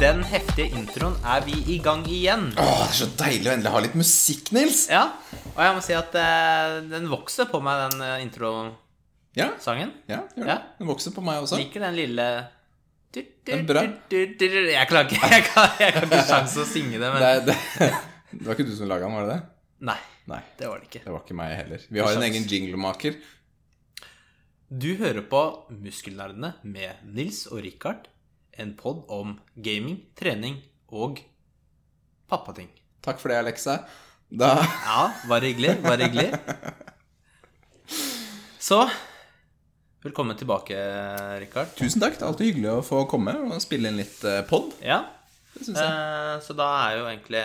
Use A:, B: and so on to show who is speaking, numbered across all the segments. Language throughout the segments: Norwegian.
A: riktige introen er vi i gang igjen.
B: Åh, det er så deilig å endelig ha litt musikk, Nils.
A: Ja, og jeg må si at eh, den vokser på meg, den eh, introsangen.
B: Ja, ja, gjør det.
A: Ja.
B: Den vokser på meg også.
A: Liker den lille du, du,
B: Den er bra.
A: du, du, du, du. Jeg klager ikke. Jeg kan- jeg har ikke sjans til å synge det, men
B: Det, er- det, det var ikke du som laga den, var det det?
A: Nei,
B: Nei,
A: det var det ikke.
B: det var ikke meg heller. Vi har en egen jinglemaker.
A: Du hører på Muskelnerdene med Nils og Richard. En pod om gaming, trening og pappating.
B: Takk for det, Alexa. Da
A: Ja, bare hyggelig, bare hyggelig. Så Velkommen tilbake, Richard.
B: Tusen takk. Det er alltid hyggelig å få komme og spille inn litt eh, pod.
A: Ja,
B: Det synes jeg.
A: eh, så da er jo egentlig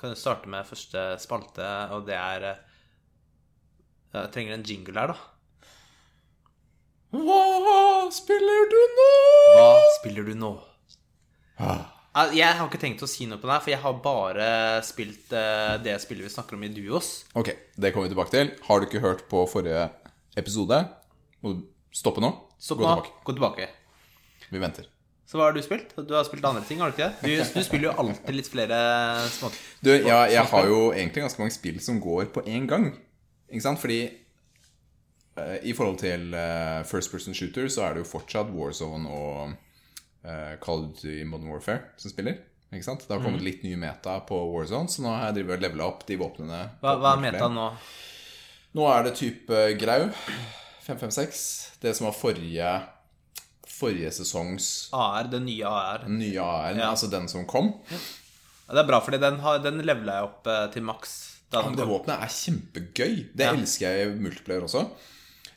A: Kan du starte med første spalte, og det er eh, Jeg trenger en jingle her, da.
B: Hva spiller du nå?
A: Hva spiller du nå?
B: Ah,
A: Al- Jeg har ikke tenkt å si noe på den her, for jeg har bare spilt eh, det spillet vi snakker om i Duos.
B: Ok, det kommer vi tilbake til. Har du ikke hørt på forrige episode, må du stoppe nå.
A: Så
B: Gå
A: nå,
B: tilbake.
A: gå tilbake.
B: Vi venter.
A: Så hva har du spilt? Du har spilt andre ting, har du ikke det? Du, du spiller jo alltid litt flere eh, små...
B: Du, jeg, jeg har jo egentlig ganske mange spill som går på én gang. Ikke sant? Fordi eh, i forhold til eh, first person shooter så er det jo fortsatt Warzone og eh, Call of Duty Modern Warfare som spiller. Ikke sant? Det har
A: Mm.
B: kommet litt ny meta på Warzone, så nå har jeg drevet og levela opp de våpnene.
A: Hva, hva er
B: våpnene.
A: meta nå?
B: Nå er det type grau. 556. Det som var forrige, forrige sesongs
A: AR, den nye AR.
B: nye AR, altså den som kom.
A: Ja, det er bra, fordi den, har, den levela jeg opp eh, til maks. Da
B: Ja, men
A: den
B: det
A: kom.
B: våpenet er kjempegøy. Det
A: Ja.
B: elsker jeg i multiplayer også.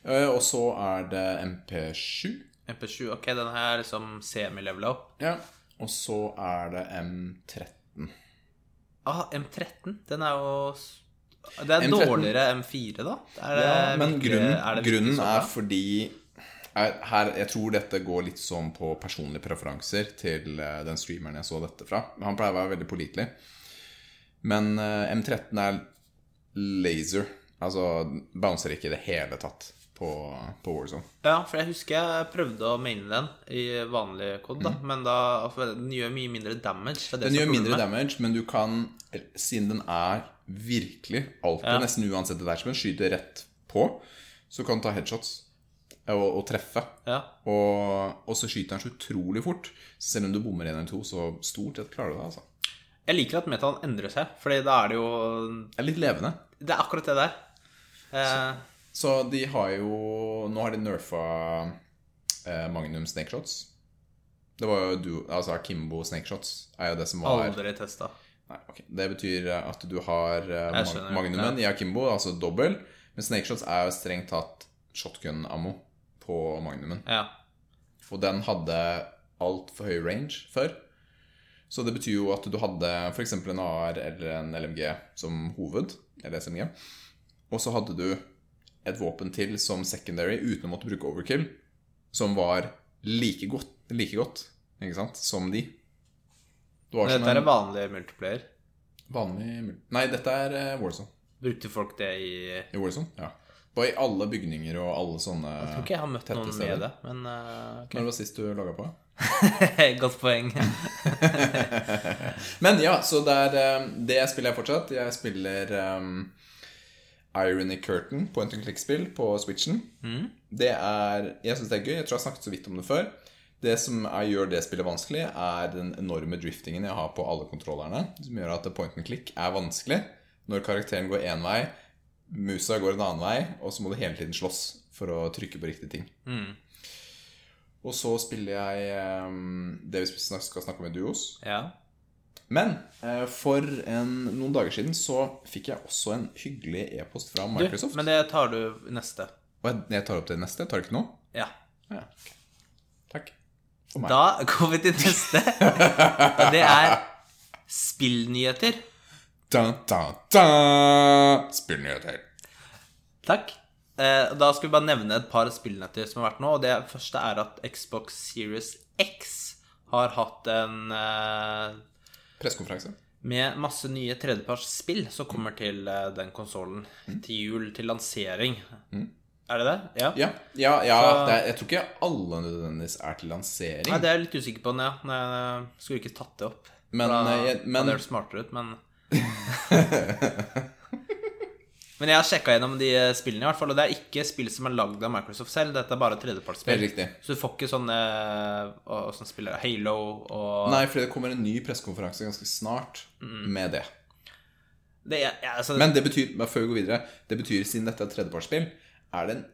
B: Eh, Og så er det MP7.
A: MP7, ok, den har jeg liksom semi-levela opp.
B: Ja. Og så er det M13.
A: Ah, M13, den er jo s- Det er
B: M13.
A: dårligere M4, da? Er det
B: Ja, men
A: virkelig- er
B: grunnen er,
A: det virkelig sånn,
B: grunnen
A: så bra?
B: er fordi er- her, Jeg tror dette går litt sånn på personlige preferanser til eh, den streameren jeg så dette fra. Han pleier å være veldig pålitelig. Men eh, M13 er laser. Altså bouncer ikke i det hele tatt på, på Warzone.
A: Ja, for jeg husker jeg prøvde å maine den i vanlig kod, da, men da for den gjør mye mindre damage. Det er det
B: Mm. Den
A: som er
B: gjør
A: problemet.
B: mindre damage, men du kan, siden den er virkelig alltid,
A: Ja.
B: nesten uansett attachment, skyte rett på, så kan du ta headshots og, og treffe.
A: Ja.
B: Og, og så skyter den så utrolig fort. Så selv om du bommer én eller to, så stort sett klarer du det. altså.
A: Jeg liker at metaen endrer seg, Fordi da er det jo
B: Det er litt levende.
A: Det er akkurat det der. Eh,
B: Så de har jo Nå har de nerfa eh, Magnum snakeshots. Det var jo du, altså Akimbo snakeshots er jo det som var
A: aldri testa.
B: Nei, ok. Det betyr eh, at du har eh,
A: Jeg
B: mag-
A: skjønner.
B: magnumen i akimbo, altså dobbel. Men snakeshots er jo strengt tatt shotgun-ammo på magnumen.
A: Ja.
B: Og den hadde altfor høy range før. Så det betyr jo at du hadde f.eks. en AR eller en LMG som hoved, eller SMG. Og så hadde du et våpen til som secondary uten å måtte bruke overkill, som var like godt, like godt ikke sant, som de. Det var
A: Men
B: som
A: Dette
B: en-
A: er en vanlig multiplayer.
B: Vanlig mul- Nei, dette er eh, Warzone.
A: Brukte folk det i Jeg
B: I Warzone, ja. På i alle bygninger og alle sånne
A: tror ikke jeg har møtt
B: Tette
A: noen
B: steder.
A: med det, men eh, ok.
B: Når det var sist du laga på?
A: Godt poeng.
B: Men ja, så det er eh, Det spiller jeg fortsatt. Jeg spiller um, Irony Curtain, point and click-spill, på Switchen. Det er Jeg syns det er gøy. Jeg tror jeg har snakket så vidt om det før. Det som er, gjør det spillet vanskelig, er den enorme driftingen jeg har på alle kontrollerne. Som gjør at point and click er vanskelig når karakteren går én vei, musa går en annen vei, og så må du hele tiden slåss for å trykke på riktige ting.
A: Mm.
B: Og så spiller jeg eh, det vi snak- skal snakke om i duos.
A: Ja.
B: Men eh, for en, noen dager siden så fikk jeg også en hyggelig e-post fra
A: Du,
B: Microsoft.
A: men det tar du neste.
B: Og jeg, jeg tar opp det neste. Tar du ikke noe?
A: Ja.
B: Ja, ok. Takk. For meg.
A: Da går vi til neste. Og det er spillnyheter.
B: Da, da, da. Spillnyheter.
A: Takk. Eh, Da skal vi bare nevne et par spillnyheter som har vært nå. Og det første er at Xbox Series X har hatt en eh,
B: Pressekonferanse.
A: Med masse nye tredjepartsspill som kommer til eh, den konsollen til jul, til lansering. Er det det? Ja.
B: Ja, ja, ja det er, jeg tror ikke alle nødvendigvis er til lansering.
A: Nei, det er jeg litt usikker på, men ja. Nei, jeg skulle ikke tatt det opp.
B: Men,
A: da,
B: eh, jeg- men-
A: hadde jeg hørt smartere ut, men Men jeg har sjekka gjennom de eh, spillene, i hvert fall, og det er ikke spill som er lagd av Microsoft selv. Dette er bare
B: Helt
A: tredjepartsspill.
B: riktig.
A: Så du får ikke sånne og, og sånne spillere Halo og
B: Nei, fordi det kommer en ny pressekonferanse ganske snart med det.
A: det, er- ja, altså,
B: Men det betyr, men før vi går videre, det betyr siden dette er tredjepartsspill, er det en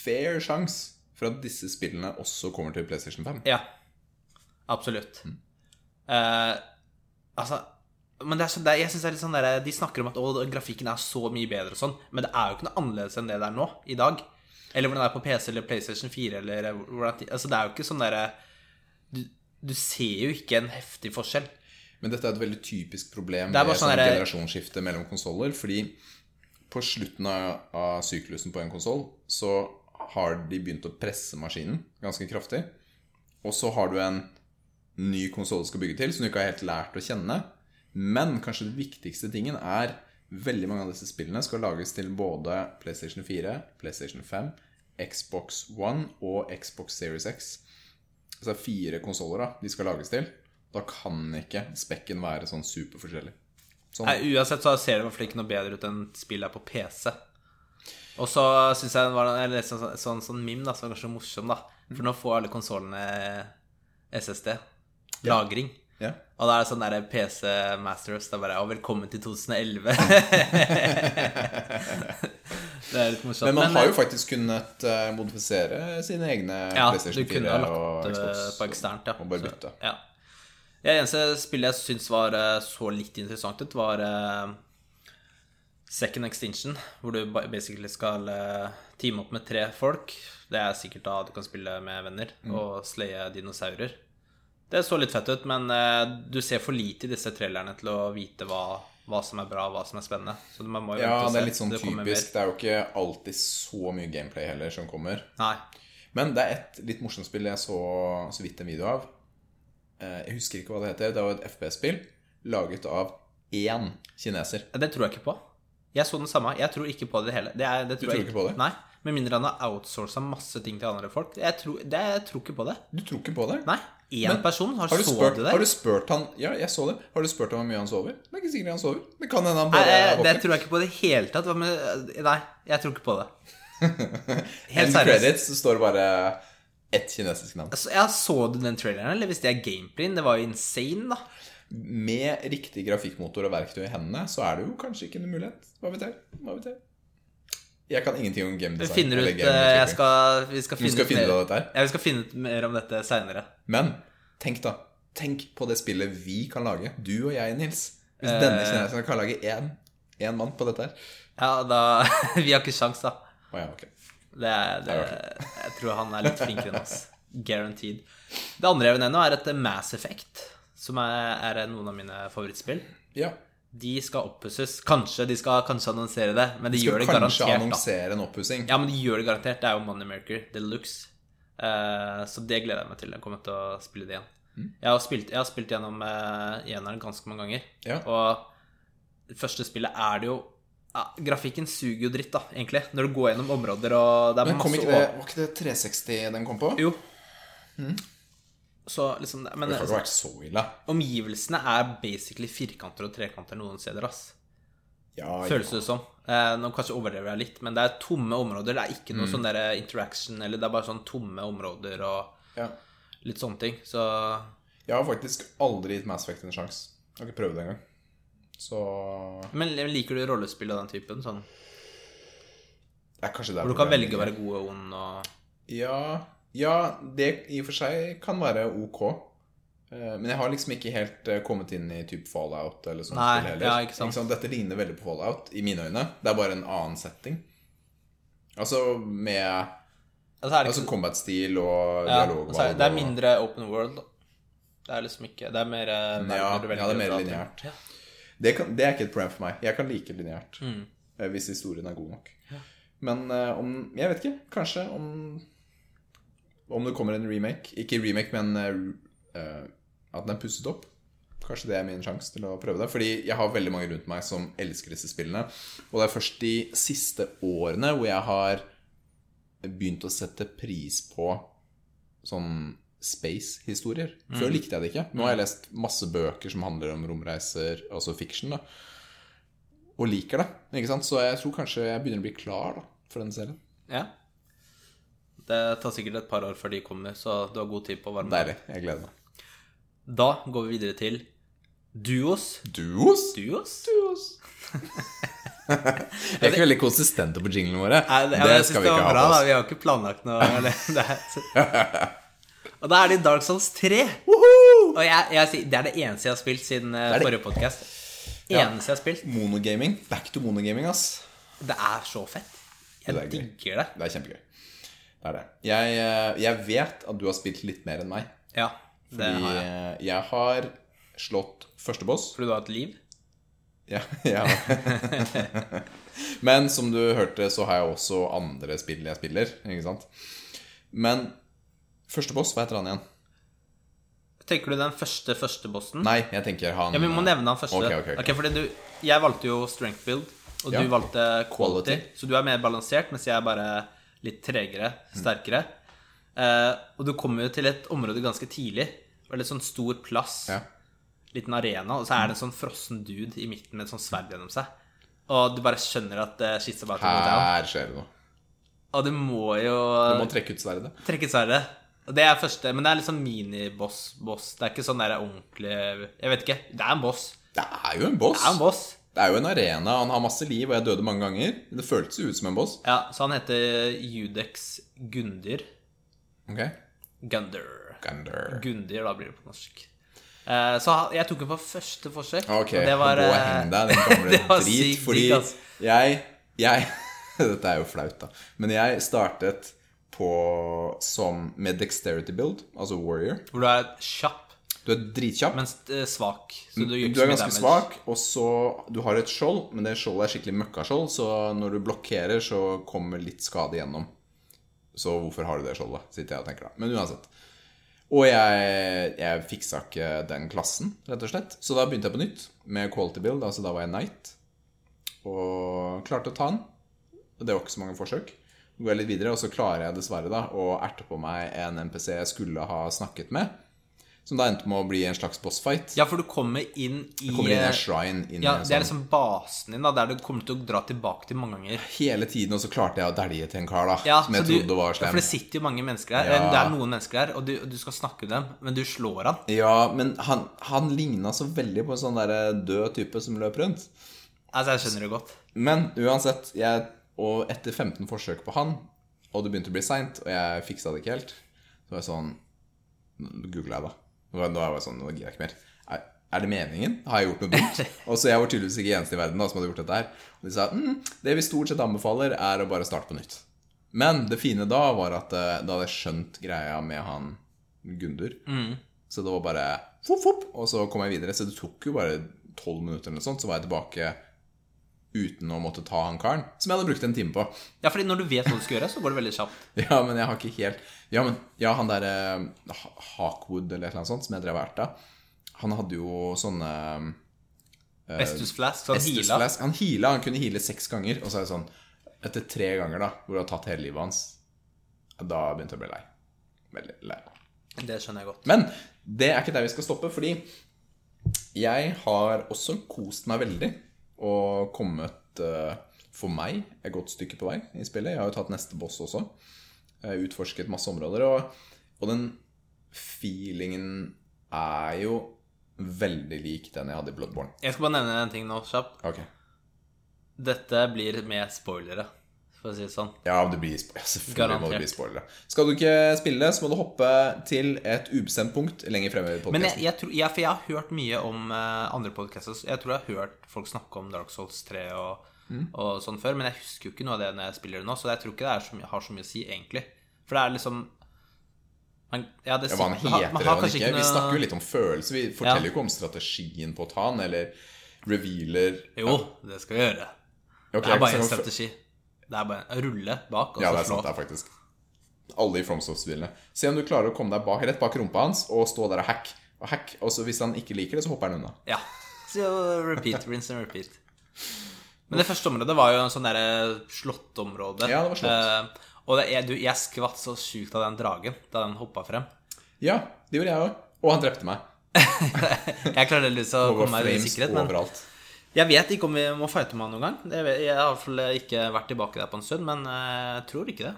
B: fair sjanse for at disse spillene også kommer til PlayStation 5.
A: Ja. Absolutt. Eh, altså men det er så, det, er- jeg synes det er litt sånn der, De snakker om at å, grafikken er så mye bedre og sånn, men det er jo ikke noe annerledes enn det det er nå, i dag. Eller hvordan det er på PC eller PlayStation 4 eller hvordan ti- Altså, det er jo ikke sånn derre du, du ser jo ikke en heftig forskjell.
B: Men dette er et veldig typisk problem
A: Det er
B: ved
A: bare sånn
B: sånn
A: der-
B: generasjonsskifte mellom konsoller. Fordi på slutten av, av syklusen på en konsoll så har de begynt å presse maskinen ganske kraftig. Og så har du en ny konsoll du skal bygge til, som du ikke har helt lært å kjenne. Men kanskje den viktigste tingen er veldig mange av disse spillene skal lages til både PlayStation 4, PlayStation 5, Xbox One og Xbox Series X altså fire konsoller da, de skal lages til, da kan ikke spekken være sånn superforskjellig. Sånn.
A: Nei, uansett så ser det i hvert fall ikke noe bedre ut enn spill er på PC. Og så syns jeg det var jeg leste en sånn, sånn, sånn meme da, som var kanskje morsom, da. For nå får alle konsollene SSD. Lagring.
B: Ja.
A: Og da er det sånn der PC Masters. Da bare Ja, velkommen til 2011. det er litt morsomt.
B: Men man har jo faktisk kunnet eh, modifisere sine egne
A: ja,
B: PlayStation 4
A: du kunne ha
B: og
A: lagt det
B: Xbox,
A: på eksternt, ja.
B: og bare
A: Så-
B: bytte.
A: ja. Det eneste spillet jeg syns var eh, så litt interessant ut, var eh, Second Extinction, hvor du ba- basically skal eh, teame opp med tre folk. Det er sikkert da du kan spille med venner
B: Mm.
A: og sleie dinosaurer. Det så litt fett ut, men eh, du ser for lite i disse trailerne til å vite hva, hva som er bra, hva som er spennende. Så man må jo
B: Ja,
A: vente og
B: det
A: se
B: er litt sånn
A: til det kommer mer.
B: typisk. Det er jo ikke alltid så mye gameplay heller som kommer.
A: Nei.
B: Men det er et litt morsomt spill jeg så så vidt en video av. Eh, Jeg husker ikke hva det heter. Det var et FPS-spill laget av én kineser.
A: Det tror jeg ikke på. Jeg så den samme. Jeg tror ikke på det hele. Det er, det tror
B: tror
A: jeg
B: ikke på det?
A: Nei. Med mindre han har outsourca masse ting til andre folk. Jeg tror, det, jeg tror ikke på det.
B: Du tror ikke på det?
A: Nei. Én
B: Men
A: person har,
B: Har du,
A: så
B: spurt,
A: det der.
B: har du spurt han Ja, jeg så det. Har du spurt ham hvor mye han sover? Det er ikke sikkert han sover. Det kan hende han
A: Nei, eh,
B: bare er
A: det
B: våken.
A: tror jeg ikke på i det hele tatt. Hva med Nei, jeg tror ikke på det. Helt
B: End
A: seriøst.
B: credits så står det bare ett kinesisk navn.
A: Altså, ja, så du den traileren, eller hvis det er gameplayen? Det var jo insane, da.
B: Med riktig grafikkmotor og verktøy i hendene, så er det jo kanskje ikke en mulighet. Hva vet jeg? Hva vet jeg? Jeg kan ingenting om game
A: Vi
B: design.
A: finner ut
B: eller
A: eh,
B: game
A: jeg
B: utvikling.
A: skal, Vi skal
B: Du
A: finne,
B: skal finne
A: ut
B: ut av
A: mer,
B: dette her.
A: ja, vi skal finne ut mer om dette seinere.
B: Men tenk, da. Tenk på det spillet vi kan lage. Du og jeg, Nils. Hvis denne
A: Eh.
B: kineseren kan lage én, én mann på dette her.
A: Ja, da Vi har ikke sjans, da.
B: Å ja, ok.
A: Det, er- det, jeg tror han er litt flinkere enn oss. Guaranteed. Det andre jeg vil nevne, er et Mass Effect, som er, er noen av mine favorittspill.
B: Ja.
A: De skal oppusses. Kanskje de skal kanskje annonsere det, men de,
B: Vi
A: gjør
B: skal
A: det
B: kanskje
A: garantert. da.
B: annonsere en oppussing.
A: Ja, men de gjør det garantert. Det er jo Moneymaker Deluxe. Uh, så det gleder jeg meg til. Jeg kommer til å spille det igjen.
B: Mm.
A: Jeg, har spilt, jeg har spilt gjennom eh, eneren ganske mange ganger.
B: Ja.
A: Og det første spillet er det jo ja, Grafikken suger jo dritt, da, egentlig. Når du går gjennom områder og det er
B: Men kom
A: masse
B: ikke det, var ikke det 360 den kom på?
A: Jo. Så liksom det- Men
B: Mm. Det har ikke vært så ille.
A: omgivelsene er basically firkanter og trekanter noen steder, ass.
B: Ja,
A: Føles det som. Eh, nå kanskje overdrever jeg litt, men det er tomme områder. Det er ikke
B: Mm.
A: noe sånn der interaction, eller det er bare sånn tomme områder og
B: ja.
A: litt sånne ting. Så
B: Jeg har faktisk aldri gitt Mass Effect en sjanse. Jeg har ikke prøvd det engang. Så
A: Men liker du rollespill av den typen? Sånn
B: det er kanskje der
A: hvor du kan
B: problemet
A: velge å
B: ligger.
A: være god og ond og
B: Ja, ja, det i og for seg kan være ok. Eh, Men jeg har liksom ikke helt eh, kommet inn i type fallout eller sånt
A: Nei,
B: spill heller.
A: ja, ikke sant.
B: Dette ligner veldig på fallout i mine øyne. Det er bare en annen setting. Altså med
A: Altså, er det,
B: altså
A: ikke,
B: combat-stil og
A: ja,
B: dialogvalg.
A: altså, er- det er
B: og-
A: mindre open world. da. Det er liksom ikke Det er mer eh, verden du
B: Ja, ja, det er
A: velger å
B: mer
A: dra til.
B: lineært.
A: Ja.
B: Det, kan, det er ikke et problem for meg. Jeg kan like lineært. eh, Hvis historien er god nok. Men eh, om Jeg vet ikke. Kanskje om Om det kommer en remake. Ikke remake, men eh, eh, at den er pusset opp. Kanskje det er min sjanse til å prøve det. Fordi jeg har veldig mange rundt meg som elsker disse spillene. Og det er først de siste årene hvor jeg har begynt å sette pris på sånn space-historier.
A: Mm.
B: Før likte jeg det ikke. Nå har jeg lest masse bøker som handler om romreiser, altså fiction, da. Og liker det. ikke sant? Så jeg tror kanskje jeg begynner å bli klar da, for denne serien.
A: Ja. Det tar sikkert et par år før de kommer, så du har god tid på å varme deg.
B: Deilig. Jeg gleder meg.
A: Da går vi videre til duos.
B: Duos?
A: Duos?
B: Duos. Vi er ikke veldig konsistente på jinglene våre.
A: Nei, det,
B: det
A: jeg synes
B: skal
A: det
B: vi
A: var
B: ikke ha
A: bra,
B: på
A: da.
B: oss.
A: Vi har ikke planlagt noe. Eller, det er, og da er det Dark Souls 3.
B: Woohoo!
A: Og jeg, jeg, sier- det er det eneste jeg har spilt siden eh,
B: Det er det-
A: forrige podkast.
B: Ja.
A: Eneste jeg har spilt.
B: Monogaming. Back to monogaming, ass.
A: Det er så fett. Jeg
B: Det er gøy.
A: digger det.
B: Det er kjempegøy. Det er det. Jeg, eh, jeg vet at du har spilt litt mer enn meg.
A: Ja, det
B: Fordi
A: har jeg.
B: eh, jeg har slått første boss.
A: Fordi du har et liv?
B: Ja, ja. Men som du hørte, så har jeg også andre spill jeg spiller. Ikke sant? Men første boss, hva heter han igjen?
A: Mm. Tenker du den første første bossen?
B: Nei, jeg tenker han eh,
A: Ja, men Vi må nevne han første.
B: Ok, ok, ok.
A: Ok, fordi du, jeg valgte jo strength build, og
B: Ja.
A: du valgte quality.
B: Quality. Mm.
A: Så du er mer balansert, mens jeg er bare litt tregere, sterkere. Eh, og du kommer jo til et område ganske tidlig. Veldig sånn stor plass,
B: Ja.
A: liten arena, og så er det en sånn frossen dude i midten med et sånt sverd gjennom seg. Og du bare skjønner at uh, shit's about to go down.
B: Her skjer det noe.
A: Og du må jo
B: Du må trekke ut sverdet.
A: Trekke sverdet. Og Det er første, men det er litt sånn miniboss-boss. Det er ikke sånn der ordentlig Jeg vet ikke. Det er en boss.
B: Det er jo en boss.
A: Det er en boss.
B: Det er jo en arena. Han har masse liv, og jeg døde mange ganger. Det føltes jo ut som en boss.
A: Ja, så han heter Judex Gundyr.
B: Ok
A: Gunder.
B: Gunder.
A: Gundyr, da blir det på norsk. Eh, Så han- jeg tok den på første forsøk.
B: Ok,
A: og det var,
B: gå og
A: eh,
B: heng deg, den gamle
A: det var
B: drit.
A: sykt
B: Fordi
A: digg, ass.
B: jeg, jeg Dette er jo flaut, da. Men jeg startet på som med dexterity build, altså warrior.
A: Hvor du er kjapp,
B: Du er dritkjapp.
A: men s- eh, svak. Så du, gjør ikke
B: Mm, Du
A: så
B: er
A: mye
B: ganske
A: damage.
B: svak, og så Du har et skjold, men det skjoldet er skikkelig møkkaskjold, så når du blokkerer, så kommer litt skade gjennom. Så hvorfor har du det skjoldet, sitter jeg og tenker da. Men uansett. Og jeg, jeg fiksa ikke den klassen, rett og slett. Så da begynte jeg på nytt med quality build, altså da var jeg knight. Og klarte å ta den. Og det var ikke så mange forsøk. Så går jeg litt videre, og så klarer jeg dessverre da å erte på meg en NPC jeg skulle ha snakket med. Som da endte med å bli en slags bossfight.
A: Ja, for du kommer inn i eh,
B: Kommer inn i en shrine inn i
A: Ja,
B: en
A: det er liksom
B: sånn-
A: basen din, da, der du kommer til å dra tilbake til mange ganger.
B: Hele tiden, og så klarte jeg å dælje til en kar da
A: Ja,
B: som jeg
A: så du-
B: trodde var
A: ja,
B: slem.
A: For det sitter jo mange mennesker her.
B: Ja.
A: Det er noen mennesker her, og du, du skal snakke med dem, men du slår han.
B: Ja, men han, han ligna så veldig på en sånn der død type som løp rundt.
A: Altså, jeg skjønner det godt.
B: Men uansett, jeg, og etter 15 forsøk på han, og det begynte å bli seint, og jeg fiksa det ikke helt, så var jeg sånn Googla jeg, da. Nå var- Da var jeg sånn, nå gidder jeg ikke mer. Er, er det meningen? Har jeg gjort noe dumt? Og så jeg var tydeligvis ikke eneste i verden da, som hadde gjort dette her. Og de sa mm, det vi stort sett anbefaler, er å bare starte på nytt. Men det fine da var at eh, da hadde jeg skjønt greia med han Gundur. Så det var bare fopp, fopp, og så kom jeg videre. Så det tok jo bare tolv minutter eller noe sånt, så var jeg tilbake uten å måtte ta han karen, som jeg hadde brukt en time på.
A: Ja, fordi når du vet hva du skal gjøre, så går det veldig kjapt.
B: Ja, men jeg har ikke helt Ja, men ja, han derre eh, Hawkwood eller et eller annet sånt, som jeg drev og erta, han hadde jo sånne
A: Vestus Flask, så han
B: Estus
A: heala.
B: Flask. Han heala, han kunne heale seks ganger, og så er det sånn Etter tre ganger, da, hvor du har tatt hele livet hans, da begynte jeg å bli lei. Veldig lei.
A: Det skjønner jeg godt.
B: Men det er ikke der vi skal stoppe, fordi jeg har også kost meg veldig og kommet eh, for meg et godt stykke på vei i spillet. Jeg har jo tatt neste boss også. Jeg har utforsket masse områder, og, og den feelingen er jo veldig lik den jeg hadde i Bloodborne.
A: Jeg skal bare nevne en ting nå, kjapt.
B: Ok.
A: Dette blir med spoilere, for å si det sånn.
B: Ja, det blir spo- ja, selvfølgelig må det
A: Garantert.
B: bli spoilere. Skal du ikke spille, så må du hoppe til et ubestemt punkt lenger fremme i
A: Men
B: podkasten.
A: jeg, jeg, tror, jeg, for jeg har hørt mye om eh, andre podcaster. så Jeg tror jeg har hørt folk snakke om Dark Souls 3 og,
B: Mm.
A: og sånn før, men jeg husker jo ikke noe av det når jeg spiller det nå, så jeg tror ikke det er så mye, har så mye å si, egentlig. For det er liksom man, ja, det,
B: Ja, hva han
A: man har-
B: heter
A: man
B: eller
A: har
B: hva han
A: kanskje
B: ikke. Vi
A: noe-
B: snakker jo litt om følelser. Vi forteller
A: Ja.
B: jo ikke om strategien på å ta han, eller revealer
A: Jo, det skal vi gjøre.
B: Ok,
A: Det er bare en
B: jeg snakker om fø-
A: strategi. Det er bare en rulle bak og
B: Ja, det
A: så
B: er
A: slå.
B: sant, det er faktisk Alle i Fromsoft-spillene. Se om du klarer å komme deg bak, rett bak rumpa hans og stå der og hack. Og hack, og så hvis han ikke liker det, så hopper han unna.
A: Ja. Så repeat, rinse and repeat. Men det første området var jo en sånn derre slåttområde.
B: Ja, det var slott.
A: Eh, Og det, jeg, du, jeg skvatt så sjukt av den dragen da den hoppa frem.
B: Ja, det gjorde jeg òg. Og han drepte meg.
A: Jeg klarte litt å
B: Det var
A: komme meg i
B: flames
A: sikkerhet, men
B: overalt.
A: jeg vet ikke om vi må fighte med han noen gang. Jeg, vet, jeg har i hvert fall ikke vært tilbake der på en stund, men eh, jeg tror ikke det.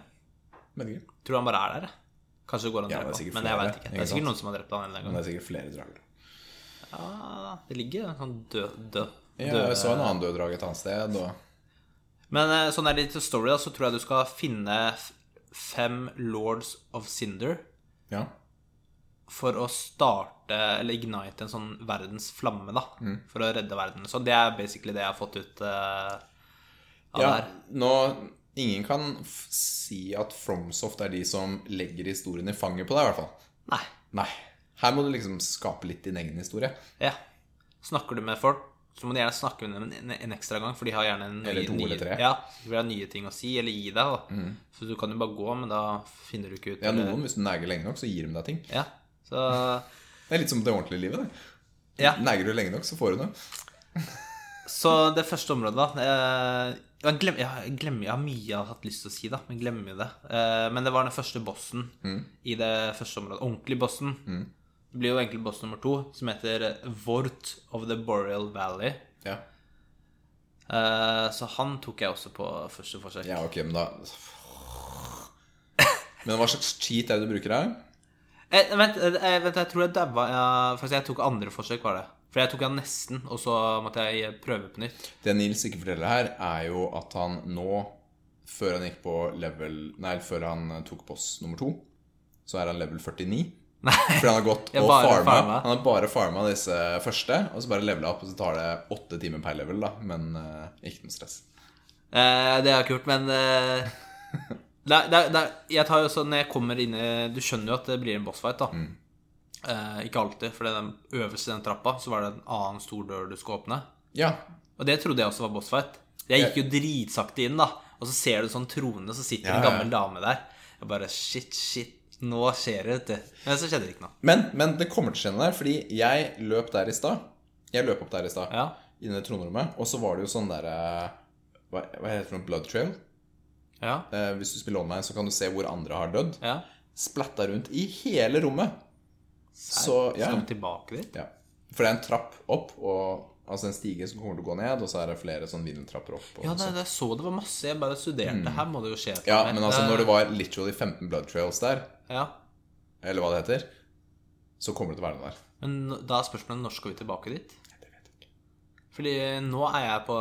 B: Men ikke.
A: Tror han bare er der. jeg. Kanskje det går an å
B: Ja, det er
A: drepe
B: sikkert
A: han, men jeg
B: flere,
A: vet ikke. Det
B: ikke
A: er sikkert
B: sant?
A: noen som har drept han en eller
B: Men
A: annen gang.
B: det er sikkert flere drager.
A: Ja, det ligger en sånn død, død,
B: Ja,
A: død
B: jeg så en annen død drage et annet sted, og
A: Men eh, sånn er det til story, da, så tror jeg du skal finne f- fem Lords of Cinder
B: Ja.
A: for å starte, eller ignite, en sånn verdens flamme, da.
B: Mm.
A: For å redde verden. Så det er basically det jeg har fått ut eh, av
B: ja
A: det her.
B: nå Ingen kan f si at Fromsoft er de som legger historien i fanget på deg, i hvert fall.
A: Nei.
B: Nei. Her må du liksom skape litt din egen historie.
A: Ja. Snakker du med folk, så må du gjerne snakke med dem en, en ekstra gang, for de har gjerne en ny-
B: Eller to
A: nye,
B: eller tre. Mm.
A: Ja, de vil ha nye ting å si, eller gi deg. Da. Så du kan jo bare gå, men da finner du ikke ut
B: Ja, noen, Hvis du neger lenge nok, så gir de deg ting.
A: Ja, så...
B: Det er litt som det ordentlige livet. det
A: Ja.
B: Neger du lenge nok, så får du noe.
A: Så det første området, da eh, jeg, glem, jeg, glemmer, jeg har mye jeg har hatt lyst til å si, da, men glemmer jo det. Eh, men det var den første bossen i det første området. Ordentlig bossen. Det blir jo egentlig boss nummer to, som heter Vort of the Boreal Valley.
B: Ja.
A: Eh, så han tok jeg også på første forsøk.
B: ja, ok, men da Men hva slags cheat er det du bruker her?
A: Eh, vent, eh, vent, jeg tror jeg daua jeg, Faktisk, jeg tok andre forsøk, var det. For jeg tok han nesten, og så måtte jeg prøve på nytt.
B: Det Nils ikke forteller her, er jo at han nå, før han gikk på level Nei, før han tok boss nummer to, så er han level 49.
A: Nei.
B: Fordi han har gått
A: Jeg
B: og
A: bare
B: farma.
A: farma.
B: Han har bare farma disse første, og så bare levela opp, og så tar det åtte timer per level, da. Men eh, ikke noe stress.
A: Eh, det har jeg ikke gjort, men eh, det, er- det, er- det, er- Jeg tar jo også Når jeg kommer inn i Du skjønner jo at det blir en bossfight, da.
B: Mm.
A: Eh, ikke alltid, for den øverste i den trappa Så var det en annen stor dør du skal åpne.
B: Ja.
A: Og det trodde jeg også var bossfight. Jeg gikk jo dritsakte inn, da. Og så ser du sånn troende, så sitter en
B: Ja, ja, ja.
A: gammel dame der. Jeg bare Shit, shit. Nå skjer det, vet du. Men så skjedde det ikke noe.
B: Men, men det kommer til å skje noe der, fordi jeg løp der i stad. Jeg løp opp der i stad,
A: Ja.
B: inn i tronrommet, og så var det jo sånn derre hva, hva heter det for noe? Blood trail?
A: Ja.
B: Eh, hvis du spiller online, så kan du se hvor andre har dødd.
A: ja.
B: splatta rundt i hele rommet. Så ja,
A: Skal vi tilbake dit?
B: ja. For det er en trapp opp, og altså en stige som kommer til å gå ned, og så er det flere sånn vindeltrapper opp. Og
A: Ja,
B: sånn.
A: det, det så det var masse. Jeg bare studerte. Her må det jo skje et
B: Mm. ja,
A: eller annet.
B: men altså når
A: Det-
B: det var literally 15 blood trails der,
A: Eh, ja.
B: eller hva det heter, så kommer det til å være noe der.
A: Men nå- da er spørsmålet når skal vi tilbake dit? Fordi nå er jeg på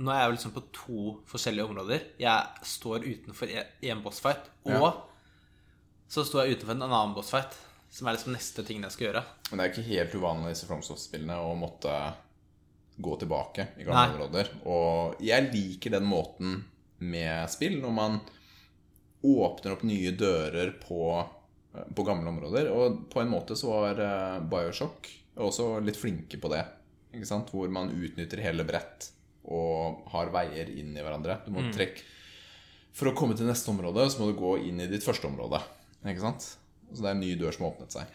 A: Nå er jeg liksom på to forskjellige områder. Jeg står utenfor én bossfight, og
B: Ja.
A: så står jeg utenfor en annen bossfight, som er liksom neste ting jeg skal gjøre.
B: Men det er ikke helt uvanlig i disse Fromsoft-spillene å måtte gå tilbake i gamle
A: Nei.
B: områder. Og jeg liker den måten med spill, når man åpner opp nye dører på, eh, på gamle områder. Og på en måte så var eh, Bioshock også litt flinke på det. Ikke sant? Hvor man utnytter hele brett og har veier inn i hverandre. Du må trekke For å komme til neste område, så må du gå inn i ditt første område. Ikke sant? Så det er en ny dør som har åpnet seg.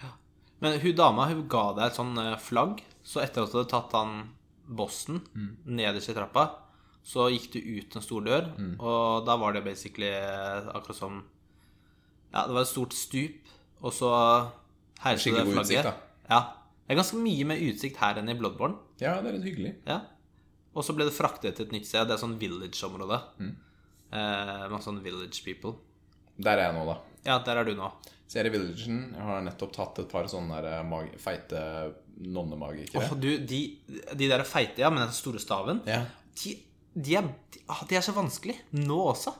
A: Men hun dama hun ga deg et sånn eh, flagg, så etter at du hadde tatt han bossen
B: Mm.
A: nederst i trappa, så gikk du ut en stor dør,
B: Mm.
A: og da var det basically eh, akkurat som Ja, det var et stort stup, og så heiste du det
B: Skikkelig god
A: flagget.
B: utsikt, da.
A: Ja. Det er ganske mye mer utsikt her enn i Bloodborne.
B: Ja, det er litt hyggelig.
A: Ja. Og så ble det fraktet til et nytt sted. Det er sånn village-område.
B: Mm.
A: Eh, masse sånn village people.
B: Der er jeg nå, da.
A: Ja, der er du nå.
B: Så jeg er i villagen. Jeg har nettopp tatt et par sånne der eh, mag feite nonnemagikere.
A: Åh, du, de, de der er feite, ja, med den store staven
B: Ja.
A: de, de, er, de, ah, de er så vanskelig nå også.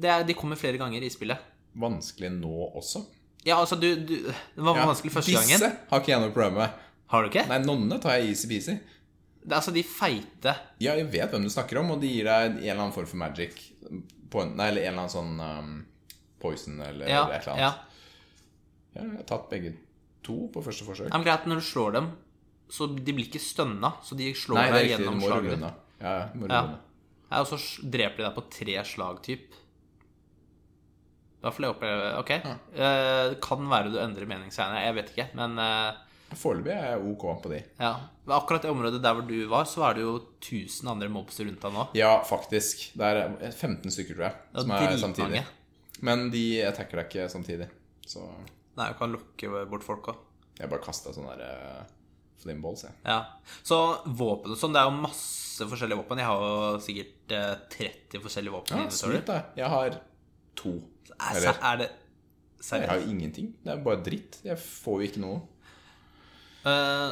A: Det er, de kommer flere ganger i spillet.
B: Vanskelig nå også.
A: Ja, altså, du, du Det var
B: Ja,
A: vanskelig første
B: Disse
A: gangen.
B: har ikke jeg noe problem med.
A: Har du ikke?
B: Nei, nonnene tar jeg easy-peasy.
A: Det, er altså, de feite
B: Ja, jeg vet hvem du snakker om, og de gir deg en eller annen form for magic. Point, nei, eller en eller annen sånn um, poison eller,
A: Ja.
B: eller et eller
A: ja.
B: annet. Ja, jeg har tatt begge to på første forsøk.
A: Det er greit når du slår dem, så de blir ikke stønna, så de slår
B: Nei, det er
A: deg
B: riktig.
A: gjennom
B: Du må rulle
A: slaget.
B: unna. Ja, ja, du må
A: Ja.
B: rulle unna.
A: Ja, og så s- dreper de deg på tre slag, typ. Da får jeg oppleve Ok. Eh, Det kan være du endrer mening senere, jeg vet ikke, men eh,
B: Foreløpig er jeg ok på de.
A: Ja. Men akkurat i området der hvor du var, så er det jo 1000 andre mobster rundt deg nå.
B: Ja, faktisk. Det er 15 stykker, tror jeg,
A: Ja,
B: som er
A: dritmange.
B: samtidig. Men de attacker deg ikke samtidig. Så
A: Nei, du kan lokke bort folk òg.
B: jeg bare kasta sånne der eh, flameballs, jeg.
A: Ja. Så våpen og sånn, det er jo masse forskjellige våpen. Jeg har jo sikkert eh, 30 forskjellige våpen. i
B: Ja,
A: inventory.
B: Sweet, da. Jeg har to.
A: er,
B: Eller-
A: er det
B: Jeg
A: Seriøst?
B: har jo ingenting. Det er bare dritt. Jeg får jo ikke noe.
A: Eh,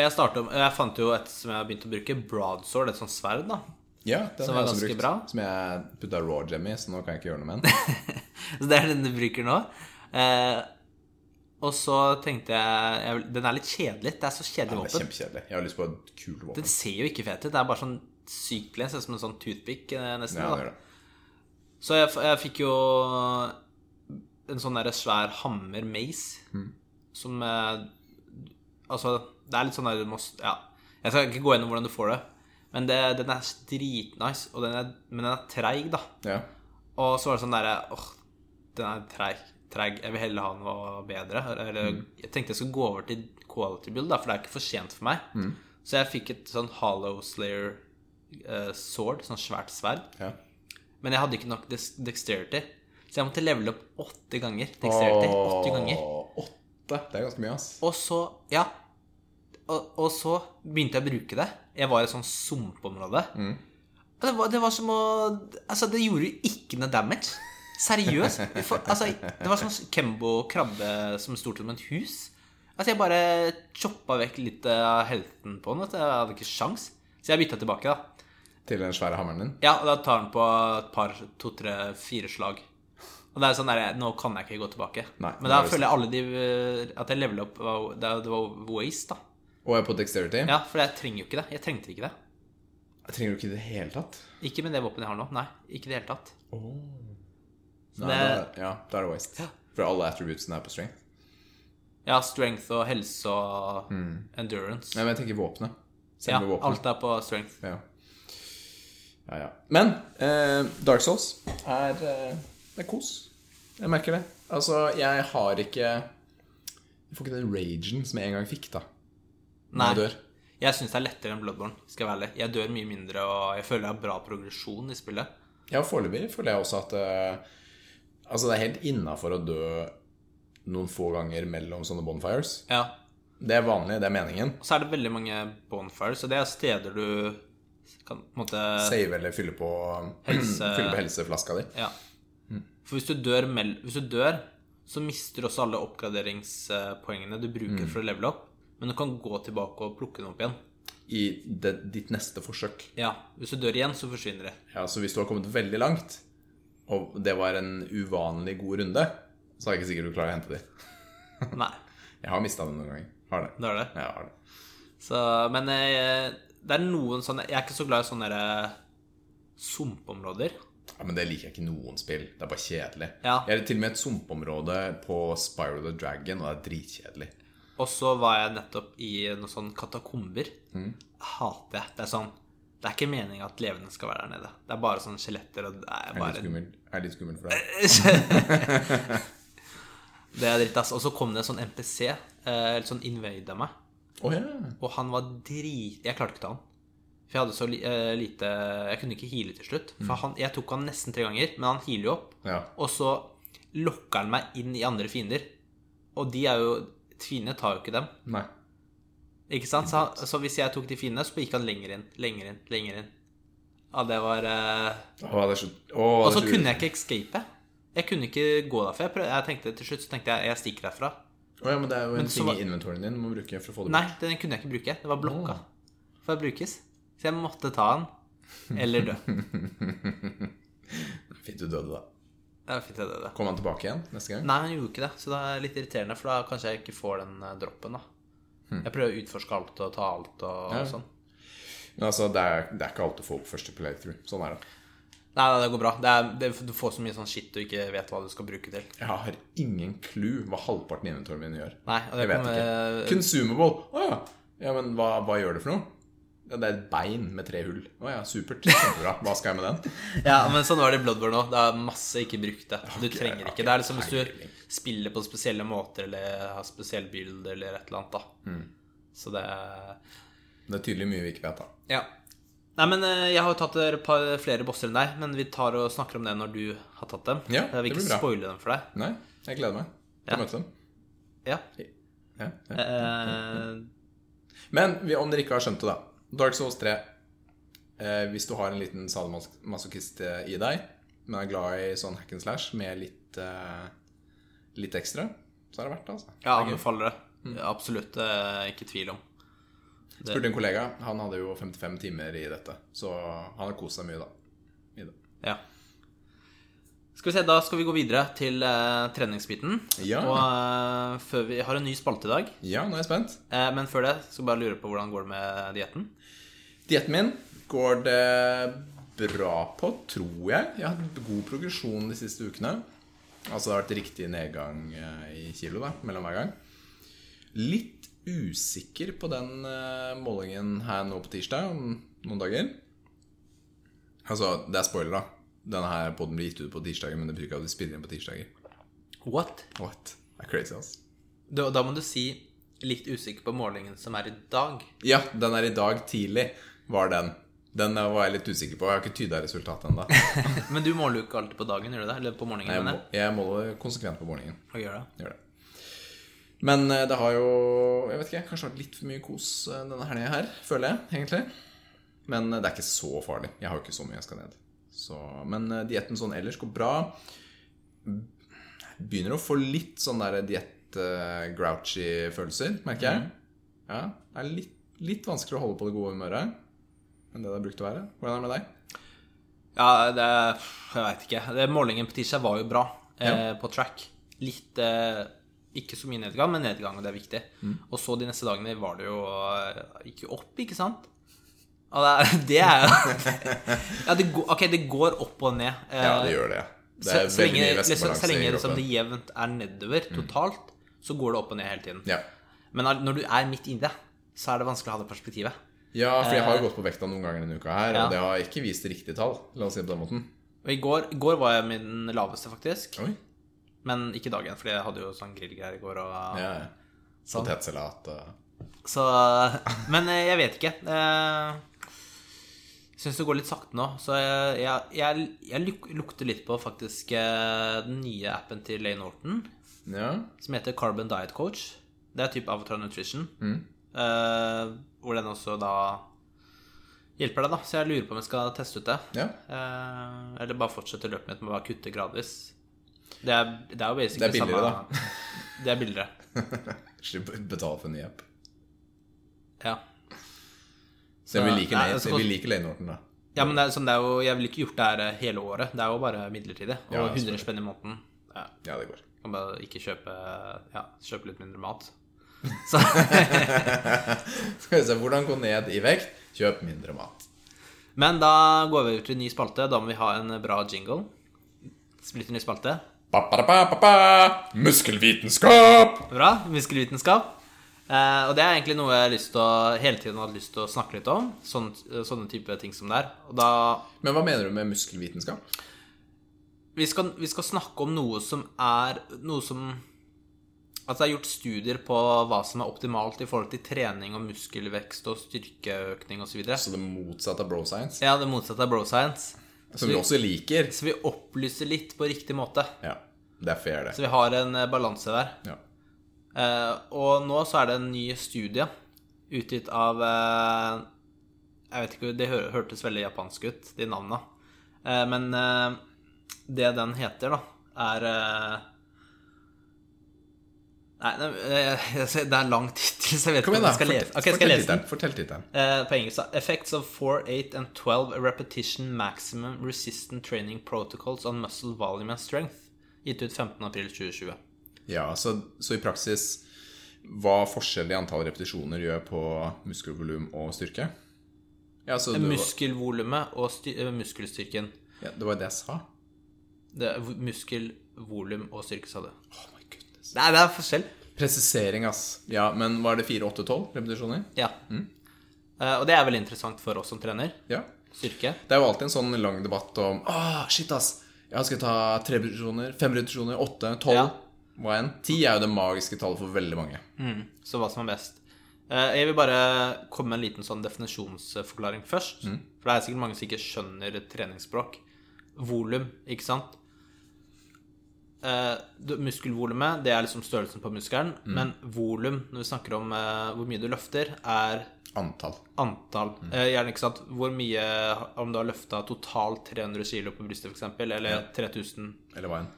A: jeg, startet, jeg fant jo et som jeg har begynt å bruke, broadsword, et sånt sverd. da
B: Ja, den
A: Som
B: har
A: var
B: jeg også
A: ganske
B: brukt.
A: bra.
B: Som jeg putta raw gem i, så nå kan jeg ikke gjøre noe med den.
A: Så det er den du bruker nå. Eh, og så tenkte jeg, jeg vil- Den er litt kjedelig. Det er så kjedelig
B: Det er
A: våpen.
B: kjempekjedelig. Jeg har lyst på et kult
A: Den
B: våpen.
A: ser jo ikke fet ut. Det er bare sånn sykelig. Ser ut som en sånn toothpick, eh, nesten.
B: Ja, det
A: da.
B: gjør det.
A: Så jeg, f- jeg fikk jo en sånn derre svær hammer mace som eh, Altså, det er litt sånn der du må s- Ja. Jeg skal ikke gå gjennom hvordan du får det, men det, den er dritnice, og den er, men den er treig, da.
B: Ja.
A: Og så var det sånn derre Åh, den er treig. treig. Jeg vil heller ha noe bedre. Eller jeg tenkte jeg skulle gå over til quality build, da, for det er ikke for sent for meg. Så jeg fikk et sånn hollow slayer eh, sword, sånn svært sverd.
B: ja.
A: Men jeg hadde ikke nok dex- dexterity, så jeg måtte levele opp åtte ganger. Dexterity, åtte ganger.
B: Åh, Åtte. Det er ganske mye, ass.
A: Og så Ja. Og, og så begynte jeg å bruke det. Jeg var i et sånn sumpområde. Og Det, var, det var som å Altså, det gjorde jo ikke noe damage. Seriøst. For, altså, det var som Kembo-krabbe som stort som et hus. Altså, jeg bare choppa vekk litt av helten på den. At jeg hadde ikke sjans. Så jeg bytta tilbake, da.
B: Til den svære hammeren din.
A: Ja, og da tar den på et par, to, tre, fire slag. Og det er sånn der, Nå kan jeg ikke gå tilbake.
B: Nei,
A: Men
B: nå
A: da
B: er det
A: føler jeg alle de eh, At jeg leveler opp var- Det det var waste, da.
B: Og jeg er på dexterity.
A: Ja, for jeg trenger jo ikke det. Jeg trengte ikke det.
B: Jeg trenger jo ikke det i det hele tatt.
A: Ikke med det våpenet jeg har nå. Nei, ikke i det hele tatt.
B: Nei, da,
A: Det-
B: ja, da er det waste. For alle attributesene er på strength.
A: Ja, strength og helse og endurance.
B: Nei, men Mm. jeg tenker våpenet.
A: Ja,
B: Selve våpenet.
A: alt er på strength.
B: Ja. ja, ja. Men eh, Dark Souls er, eh, det er kos. Jeg merker det. Altså, jeg har ikke Jeg får ikke den ragen som jeg en gang fikk, da. Når
A: Nei.
B: jeg dør.
A: Jeg syns det er lettere enn Bloodborne. skal Jeg være ærlig. Jeg dør mye mindre, og jeg føler jeg har bra progresjon i spillet.
B: Ja, foreløpig føler jeg også at eh, Altså, det er helt innafor å dø noen få ganger mellom sånne bonfires.
A: Ja.
B: Det er vanlig, det er meningen.
A: Og så er det veldig mange bonfires, og det er steder du kan på en måte
B: Save eller fylle på,
A: Helse-
B: fylle på helseflaska di.
A: Ja. For hvis du dør, mell hvis du dør så mister du også alle oppgraderingspoengene du bruker for å levele opp. Men du kan gå tilbake og plukke dem opp igjen.
B: I det, ditt neste forsøk.
A: Ja, Hvis du dør igjen, så forsvinner det.
B: Ja, så hvis du har kommet veldig langt, og det var en uvanlig god runde, så er jeg ikke sikker du klarer å hente de.
A: Nei,
B: Jeg har mista dem noen ganger. Har det.
A: det er det.
B: Ja, Jeg har det.
A: Så, men eh, det er noen sånne Jeg er ikke så glad i sånne der eh, sumpområder.
B: Ja, men det liker jeg ikke i noen spill. Det er bare kjedelig.
A: Ja.
B: Jeg er til og med i et sumpområde på Spiral the Dragon, og det er dritkjedelig.
A: Og så var jeg nettopp i noen sånne katakomber.
B: Hm?
A: Hater jeg. Det er sånn Det er ikke meninga at levende skal være der nede. Det er bare sånne skjeletter og det er
B: Er litt
A: bare
B: skummel, er litt skummel for deg.
A: Det er dritt, ass. Og så kom det en sånn NPC, eh, eller sånn invade av meg,
B: Å ja.
A: og han var drit Jeg klarte ikke å ta han. For jeg hadde så li eh, lite Jeg kunne ikke heale til slutt. For han, jeg tok han nesten tre ganger, men han healer jo opp.
B: ja.
A: Og så lokker han meg inn i andre fiender. Og de er jo Fiendene tar jo ikke dem.
B: Nei.
A: Ikke sant? Så, han- så hvis jeg tok de fiendene, så gikk han lenger inn, lenger inn, lenger inn. Ja, det var eh,
B: Å, det er så Å,
A: Og så kunne jeg ikke escape. Jeg kunne ikke gå derfra. Jeg, prøv, jeg tenkte til slutt så tenkte jeg jeg stikker derfra.
B: ja, men det er jo en
A: så
B: ting
A: var-
B: i inventoryen din du må bruke for å få det
A: Nei, den kunne jeg ikke bruke. Det var blokka for å brukes. Så jeg måtte ta den eller dø.
B: bort. Fint du døde, da.
A: Det var fint jeg døde.
B: Kom han tilbake igjen neste gang?
A: Nei, han gjorde ikke det, så det er litt irriterende, for da kanskje jeg ikke får den eh, droppen, da. Jeg prøver å utforske alt og ta alt og
B: Ja.
A: sånn.
B: Men altså, det er, det er ikke alt du får på første playthrough. Sånn er det.
A: Nei, nei, det går bra. Det er, det, du får så mye sånn shit du ikke vet hva du skal bruke til.
B: Jeg har ingen clue hva halvparten i inventoren min gjør.
A: Nei, og det
B: Jeg vet
A: kommer
B: Consumable. Å ja. ja. Men hva, hva gjør det for noe? Ja, det er et bein med tre hull. Å ja, supert. Kjempebra. Hva skal jeg med den?
A: Ja, men sånn var det i Bloodborne òg. Det er masse ikke brukte. Du
B: Ok,
A: trenger
B: ok,
A: ikke. Det er liksom hvis
B: peiling.
A: du spiller på spesielle måter eller har spesiell build eller et eller annet, da.
B: Mm.
A: Så det er
B: Det er tydelig mye vi ikke vet, da.
A: Ja. Nei, men eh, jeg har jo tatt et par, flere bosser enn deg, men vi tar og snakker om det når du har tatt dem.
B: Ja,
A: jeg vil
B: det
A: ikke
B: blir bra.
A: spoile dem for deg.
B: Nei, jeg gleder meg til
A: Ja.
B: å møte dem.
A: Ja.
B: Ja, ja.
A: Eh,
B: Men vi- om dere ikke har skjønt det, da. Dark Souls 3. Eh, hvis du har en liten sadomasochist eh, i deg, men er glad i sånn hack and slash med litt, eh, litt ekstra, så er Mm. det verdt det, altså.
A: jeg anbefaler det. Absolutt. eh, Ikke tvil om.
B: Spurte en kollega. Han hadde jo 55 timer i dette, så han har kost seg mye, da. I det.
A: Ja. Skal vi se, Da skal vi gå videre til eh, treningsbiten.
B: Ja.
A: Og eh, før vi har en ny spalte i dag.
B: Ja, nå er jeg spent.
A: Eh, men før det skal jeg bare lure på hvordan går det med dietten.
B: Dietten min går det bra på, tror jeg. Jeg har hatt god progresjon de siste ukene. Altså det har vært riktig nedgang eh, i kilo da, mellom hver gang. Litt usikker på den eh, målingen her nå på tirsdag om noen dager. Altså, det er spoiler, da. Denne her podden blir gitt ut på tirsdager, men det betyr ikke at vi spiller inn på tirsdager.
A: What?
B: What? Det er crazy, altså.
A: Da, da må du si litt usikker på målingen som er i dag.
B: Ja, den er i dag tidlig, var den. Den eh, var jeg litt usikker på. Jeg har ikke tyda resultatet ennå.
A: Men du måler jo ikke alltid på dagen, gjør du det? Eller på morgenen?
B: Jeg,
A: mener
B: må,
A: jeg.
B: jeg måler konsekvent på morgenen.
A: Hva gjør det?
B: Gjør det. Men eh, det har jo Jeg vet ikke, jeg har kanskje vært litt for mye kos eh, denne helga her, føler jeg egentlig. Men eh, det er ikke så farlig. Jeg har jo ikke så mye jeg skal ned. Så, men eh, dietten sånn ellers går bra. Begynner å få litt sånn der diett-grouchy følelser, merker
A: Mm.
B: jeg. Ja, Det er litt, litt vanskeligere å holde på det gode humøret enn det det har brukt å være. Hvordan er det med deg?
A: Ja, det Jeg veit ikke. Det, målingen på tirsdag var jo bra eh, på track. Litt eh, Ikke så mye nedgang, men nedgang, og det er viktig.
B: Mm.
A: Og så de neste dagene var det jo eh, Gikk jo opp, ikke sant? Ja, det, er- det er jo ja, det går, Ok, det går opp og ned. Eh,
B: Ja, det gjør det. Det
A: så,
B: er
A: så
B: veldig
A: lenge,
B: mye
A: liksom, så
B: væskebalanse
A: lenge
B: i
A: liksom, det
B: kroppen.
A: jevnt er nedover totalt, så går det opp og ned hele tiden.
B: Ja.
A: Men al- når du er midt inni det, så er det vanskelig å ha det perspektivet.
B: Ja, for jeg har jo gått på vekta noen ganger denne uka her,
A: Eh, Ja.
B: og det har ikke vist riktig tall. La oss si det på den måten.
A: Og i går, i går var jeg min laveste, faktisk.
B: Oi.
A: Men ikke dagen, for jeg hadde jo sånn grillgreier i går. Og,
B: Ja, ja.
A: Sånn.
B: Potetsalat og
A: Så, men eh, jeg vet ikke. Eh, Syns det går litt sakte nå. Så jeg, jeg, jeg, jeg luk- lukter litt på faktisk eh, den nye appen til Lane Norton,
B: Ja.
A: som heter Carbon Diet Coach. Det er type Avatar Nutrition.
B: Mm.
A: Eh, hvor den også da hjelper deg, da. Så jeg lurer på om jeg skal teste ut det.
B: ja.
A: Eh, eller bare fortsette løpet mitt med å bare kutte gradvis. Det er, det er jo
B: Det
A: basically
B: er billigere,
A: da. Det er billigere,
B: Slipp å betale for en ny app.
A: ja.
B: Så vi liker,
A: nei,
B: Lane-
A: altså, kost-
B: vi liker Lane Norton, da.
A: Ja, men det er, sånn, det er jo, jeg ville ikke gjort det her eh, hele året. Det er jo bare midlertidig. Og
B: Ja,
A: 100
B: selvfølgelig.
A: spenn i måneden. Ja,
B: Ja, det går.
A: kan bare ikke kjøpe Ja, kjøpe litt mindre mat. Så
B: Skal vi se hvordan gå ned i vekt. Kjøp mindre mat.
A: Men da går vi over til ny spalte. Da må vi ha en bra jingle. Splitter ny spalte.
B: Ba-ba-da-ba-ba-ba! Muskelvitenskap!
A: Bra. Muskelvitenskap. Eh, og det er egentlig noe jeg har lyst til å, hele tiden har hatt lyst til å snakke litt om. Sånn, sånne type ting som det er. Og da
B: Men hva mener du med muskelvitenskap?
A: vi skal, vi skal snakke om noe som er Noe som At det er gjort studier på hva som er optimalt i forhold til trening og muskelvekst og styrkeøkning osv.
B: Altså det motsatte av bro science,
A: Ja, det motsatte er bro science.
B: som vi også liker.
A: Så vi opplyser litt på riktig måte.
B: Ja, det er fair, det.
A: Så vi har en eh, balanse der.
B: Ja.
A: Eh, og nå så er det en ny studie utgitt av eh, Jeg vet ikke, det hø hørtes veldig japansk ut, de navna. Eh, men eh, det den heter, da, er eh, Nei, nei, eh, jeg ser- det er lang tittel, så jeg vet
B: Kom
A: ikke
B: igjen,
A: om
B: da.
A: jeg skal lese. Ok, jeg skal
B: fortell
A: lese den.
B: tittelen. Fortell tittelen.
A: Eh, på engelsk da. Effects of 4, 8 and 12 repetition maximum resistant training protocols on muscle volume and strength. Gitt ut 15.4.2020.
B: Ja, så, så i praksis hva forskjell i antall repetisjoner gjør på muskelvolum og styrke? Ja, så det, var,
A: Muskelvolumet og sty eh, muskelstyrken.
B: ja, det var det jeg sa.
A: Det er v- muskelvolum og styrke, sa du.
B: Oh my goodness.
A: Nei, det er forskjell.
B: Presisering, ass. Ja, men var det 4, 8, 12 repetisjoner?
A: Ja. Eh, Og det er veldig interessant for oss som trener.
B: Ja.
A: Styrke.
B: Det er jo alltid en sånn lang debatt om Åh, shit, ass. Jeg skal ta tre reduksjoner, fem reduksjoner, åtte, tolv
A: Ja.
B: Hva enn. Ti er jo det magiske tallet for veldig mange.
A: Mm, så hva som er best. Eh, Jeg vil bare komme med en liten sånn definisjonsforklaring først. For det er sikkert mange som ikke skjønner treningsspråk. Volum, ikke sant? Eh, du- Muskelvolumet, det er liksom størrelsen på muskelen. Men volum, når vi snakker om eh, hvor mye du løfter, er
B: Antall.
A: antall. Eh, Gjerne, ikke sant, hvor mye Om du har løfta totalt 300 kg på brystet, f.eks., eller 3000
B: Eller hva enn.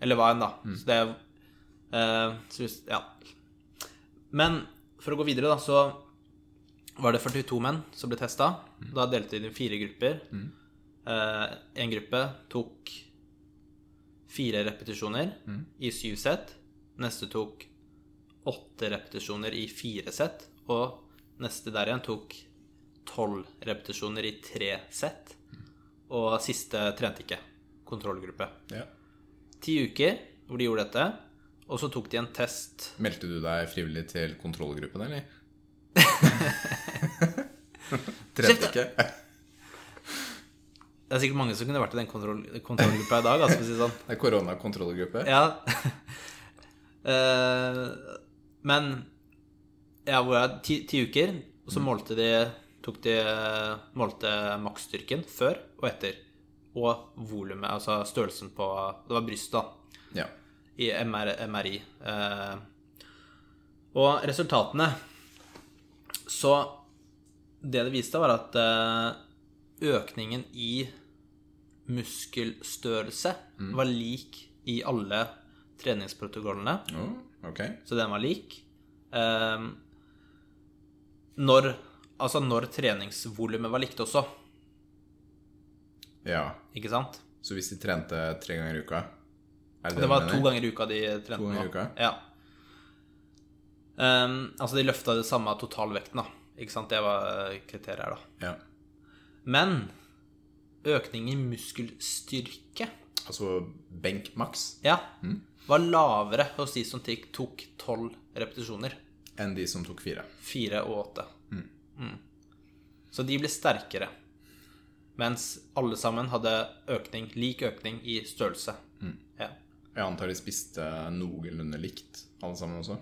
A: eller hva enn, da. Så det er eh, så hvis, Ja. Men for å gå videre, da, så var det 42 menn som ble testa. Da delte de inn i fire grupper. Eh, en gruppe tok fire repetisjoner i syv sett. Neste tok åtte repetisjoner i fire sett. Og neste der igjen tok tolv repetisjoner i tre sett. Og siste trente ikke. Kontrollgruppe
B: Ja.
A: ti uker hvor de gjorde dette, og så tok de en test.
B: Meldte du deg frivillig til kontrollgruppen, eller? Trente
A: Skifte.
B: ikke.
A: Det er sikkert mange som kunne vært i den kontroll kontrollgruppa i dag, altså, for å si det sånn.
B: Det er koronakontrollgruppe.
A: Ja. Eh, men ja, hvor er det? ti, ti uker, og så målte de tok de målte maksstyrken før og etter. Og volumet, altså størrelsen på Det var brystet, da.
B: Ja.
A: i MR, MRI. Eh, og resultatene Så det det viste, var at eh, økningen i muskelstørrelse var lik i alle treningsprotokollene.
B: Å, Mm, ok.
A: Så den var lik. Eh, når, altså når treningsvolumet var likt også,
B: Ja.
A: ikke sant?
B: Så hvis de trente tre ganger i uka er
A: Det
B: du
A: var
B: mener?
A: to ganger i uka de trente
B: To ganger i
A: nå.
B: uka?
A: Ja. Ehm, altså, de løfta det samme totalvekten, da. Ikke sant? Det var eh, kriteriet her, da.
B: Ja.
A: Men økning i muskelstyrke
B: Altså benk maks
A: ja,
B: Mm.
A: var lavere hos de som tok- tok tolv repetisjoner.
B: enn de som tok fire.
A: Fire og åtte. Mm. Så de ble sterkere. Mens alle sammen hadde økning, lik økning i størrelse.
B: Mm.
A: Ja.
B: Jeg antar de spiste noenlunde likt, alle sammen også.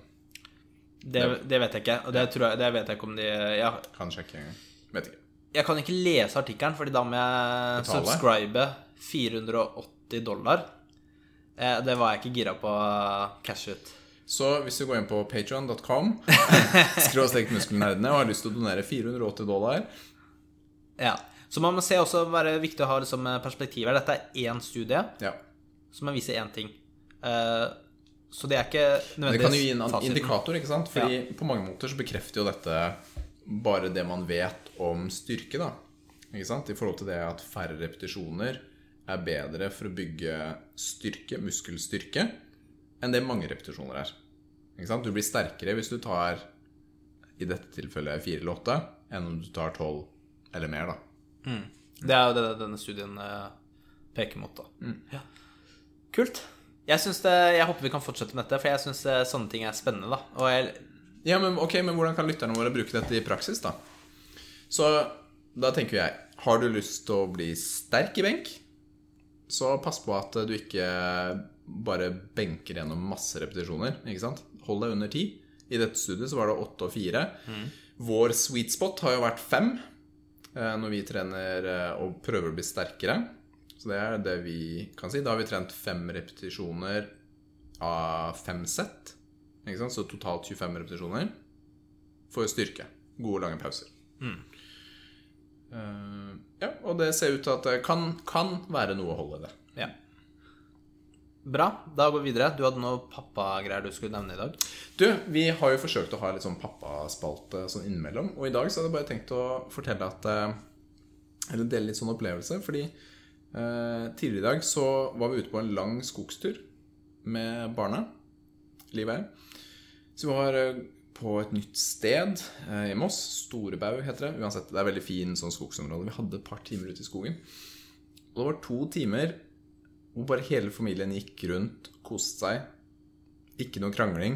A: Det, det vet jeg ikke. Og det, tror jeg, det vet jeg ikke om de Jeg
B: Kanskje ikke Vet ikke.
A: Jeg kan ikke lese artikkelen, fordi da må jeg
B: Betale?
A: subscribe 480 dollar. Eh, Det var jeg ikke gira på å cashe ut.
B: Så hvis du går inn på patreon.com skråstrek muskelnerdene og har lyst til å donere 480 dollar
A: Ja. Så man må se også være viktig å ha liksom perspektiv her. Dette er én studie
B: Ja.
A: som viser én ting. Eh, Så det er ikke
B: Det kan jo
A: nødvendigvis
B: gi en an-
A: fasiten.
B: indikator, ikke sant? Fordi på mange måter så bekrefter jo dette bare det man vet om styrke, da. Ikke sant? I forhold til det at færre repetisjoner er bedre for å bygge styrke, muskelstyrke, enn det mange repetisjoner er. Ikke sant? Du blir sterkere hvis du tar, i dette tilfellet, fire eller åtte, enn om du tar tolv eller mer, da.
A: Det er jo det denne studien eh, peker mot, da.
B: Mm.
A: Ja. Kult. Jeg, synes det, jeg håper vi kan fortsette med dette, for jeg syns eh, sånne ting er spennende, da. Og jeg,
B: Ja, men ok, men hvordan kan lytterne våre bruke dette i praksis, da? Så da tenker jeg Har du lyst til å bli sterk i benk, så pass på at du ikke bare benker gjennom masse repetisjoner. ikke sant? Hold deg under ti. I dette studiet så var det åtte og fire. Vår sweet spot har jo vært fem eh, når vi trener eh, og prøver å bli sterkere. Så det er det vi kan si. Da har vi trent fem repetisjoner av fem sett. Ikke sant? Så totalt 25 repetisjoner for styrke. Gode, lange pauser. Eh, ja, og det ser ut til at det kan, kan være noe å holde i det.
A: Ja. Bra. Da går vi videre. Du hadde noe pappagreier du skulle nevne i dag.
B: Du, vi har jo forsøkt å ha litt sånn pappaspalte sånn innimellom. Og i dag så hadde jeg bare tenkt å fortelle at eh, Eller dele litt sånn opplevelse. Fordi eh, tidligere i dag så var vi ute på en lang skogstur med barna. Liv og jeg. Så vi var eh, på et nytt sted eh, i Moss. Storebaug heter det. Uansett, det er veldig fin sånn skogsområde. Vi hadde et par timer ute i skogen. Og det var to timer hvor bare hele familien gikk rundt, koste seg. Ikke noe krangling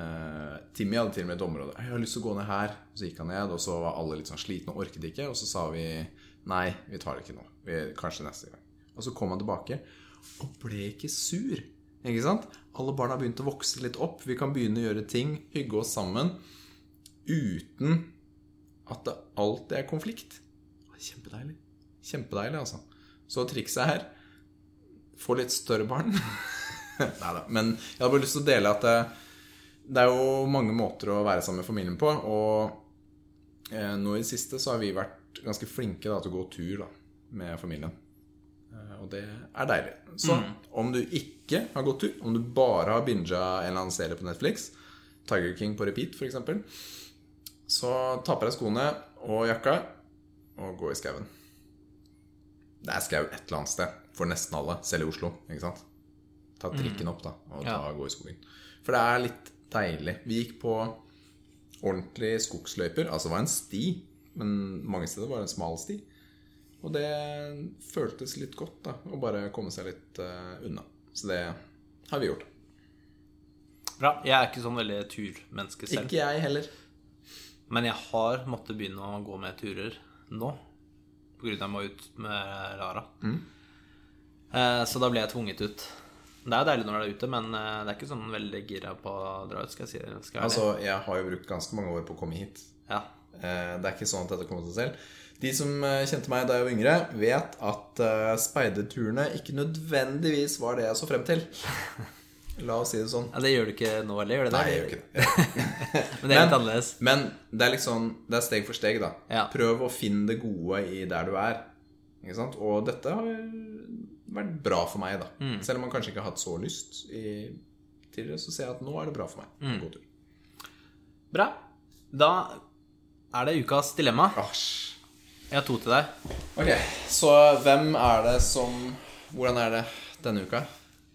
B: eh, Timmy hadde til og med et område «Ei, 'Jeg har lyst til å gå ned her.' Så gikk han ned, og så var alle litt sånn slitne og orket ikke. Og så sa vi 'Nei, vi tar det ikke nå. Vi, kanskje neste gang'. Og så kom han tilbake og ble ikke sur. Ikke sant? Alle barna har begynt å vokse litt opp. Vi kan begynne å gjøre ting, hygge oss sammen uten at det alltid er konflikt. Kjempedeilig. Kjempedeilig, altså. Så trikset her Få litt større barn. Nei da. Men jeg hadde bare lyst til å dele at eh, det, det er jo mange måter å være sammen med familien på. Og eh, nå i det siste så har vi vært ganske flinke da, til å gå tur da, med familien. Eh, og det er deilig. Så om du ikke har gått tur, om du bare har binga en eller annen serie på Netflix, Tiger King på repeat f.eks., så ta på deg skoene og jakka og gå i skauen. Det er skau et eller annet sted for nesten alle, selv i Oslo. ikke sant? Ta trikken opp da, og ta,
A: Mm. Ja.
B: gå i skogen. For det er litt deilig. Vi gikk på ordentlige skogsløyper. Altså det var en sti, men mange steder var det en smal sti. Og det føltes litt godt da, å bare komme seg litt eh, unna. Så det har vi gjort.
A: Bra. Jeg er ikke sånn veldig turmenneske selv.
B: Ikke jeg heller.
A: Men jeg har måttet begynne å gå med turer nå. På grunn av at jeg må ut med Rara.
B: Mm.
A: Eh, Så da ble jeg tvunget ut. Det er jo deilig når du er ute, men eh, det er ikke sånn veldig gira på å dra ut, skal jeg si. Skal jeg være
B: Altså, jeg har jo brukt ganske mange år på å komme hit.
A: ærlig. ja.
B: Eh, Det er ikke sånn at dette kommer til seg selv. De som eh, kjente meg da jeg var yngre, vet at eh, speiderturene ikke nødvendigvis var det jeg så frem til. La oss si det sånn.
A: ja, det gjør du ikke nå heller, gjør du det?
B: Nei, jeg gjør ikke det.
A: Men det er litt annerledes.
B: Men det er liksom Det er steg for steg, da.
A: Ja.
B: Prøv å finne det gode i der du er. Ikke sant? Og dette har vært bra for meg, da.
A: Mm.
B: Selv om man kanskje ikke har hatt så lyst i tidligere, så ser jeg at nå er det bra for meg. God tur.
A: Mm. Bra. Da er det ukas dilemma.
B: Asj.
A: Jeg har to til deg.
B: Ok, så hvem er det som Hvordan er det denne uka?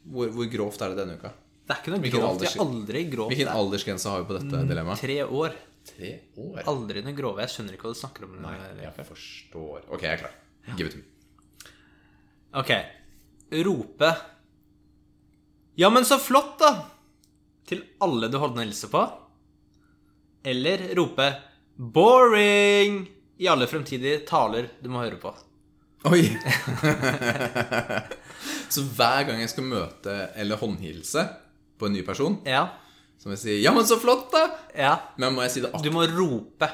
B: Hvor, hvor grovt er det denne uka?
A: Det er ikke noe
B: Hvilken
A: grovt. Jeg
B: aldersgruppe?
A: har aldri grovt.
B: Hvilken aldersgrense har vi på
A: Mm.
B: dette dilemmaet?
A: Tre år.
B: Tre år.
A: Aldri noe grove. Jeg skjønner ikke hva du snakker om.
B: Jeg forstår. Ok, jeg er klar. Give it to me.
A: Ok. Rope Ja, men så flott, da! Til alle du holder en hilse på. Eller rope 'boring' i alle fremtidige taler du må høre på.
B: Oi! så hver gang jeg skal møte eller håndhilse på en ny person,
A: Ja.
B: så må jeg si 'ja, men så flott', da!
A: Ja.
B: Men må jeg si det
A: Du
B: akkurat?
A: må rope.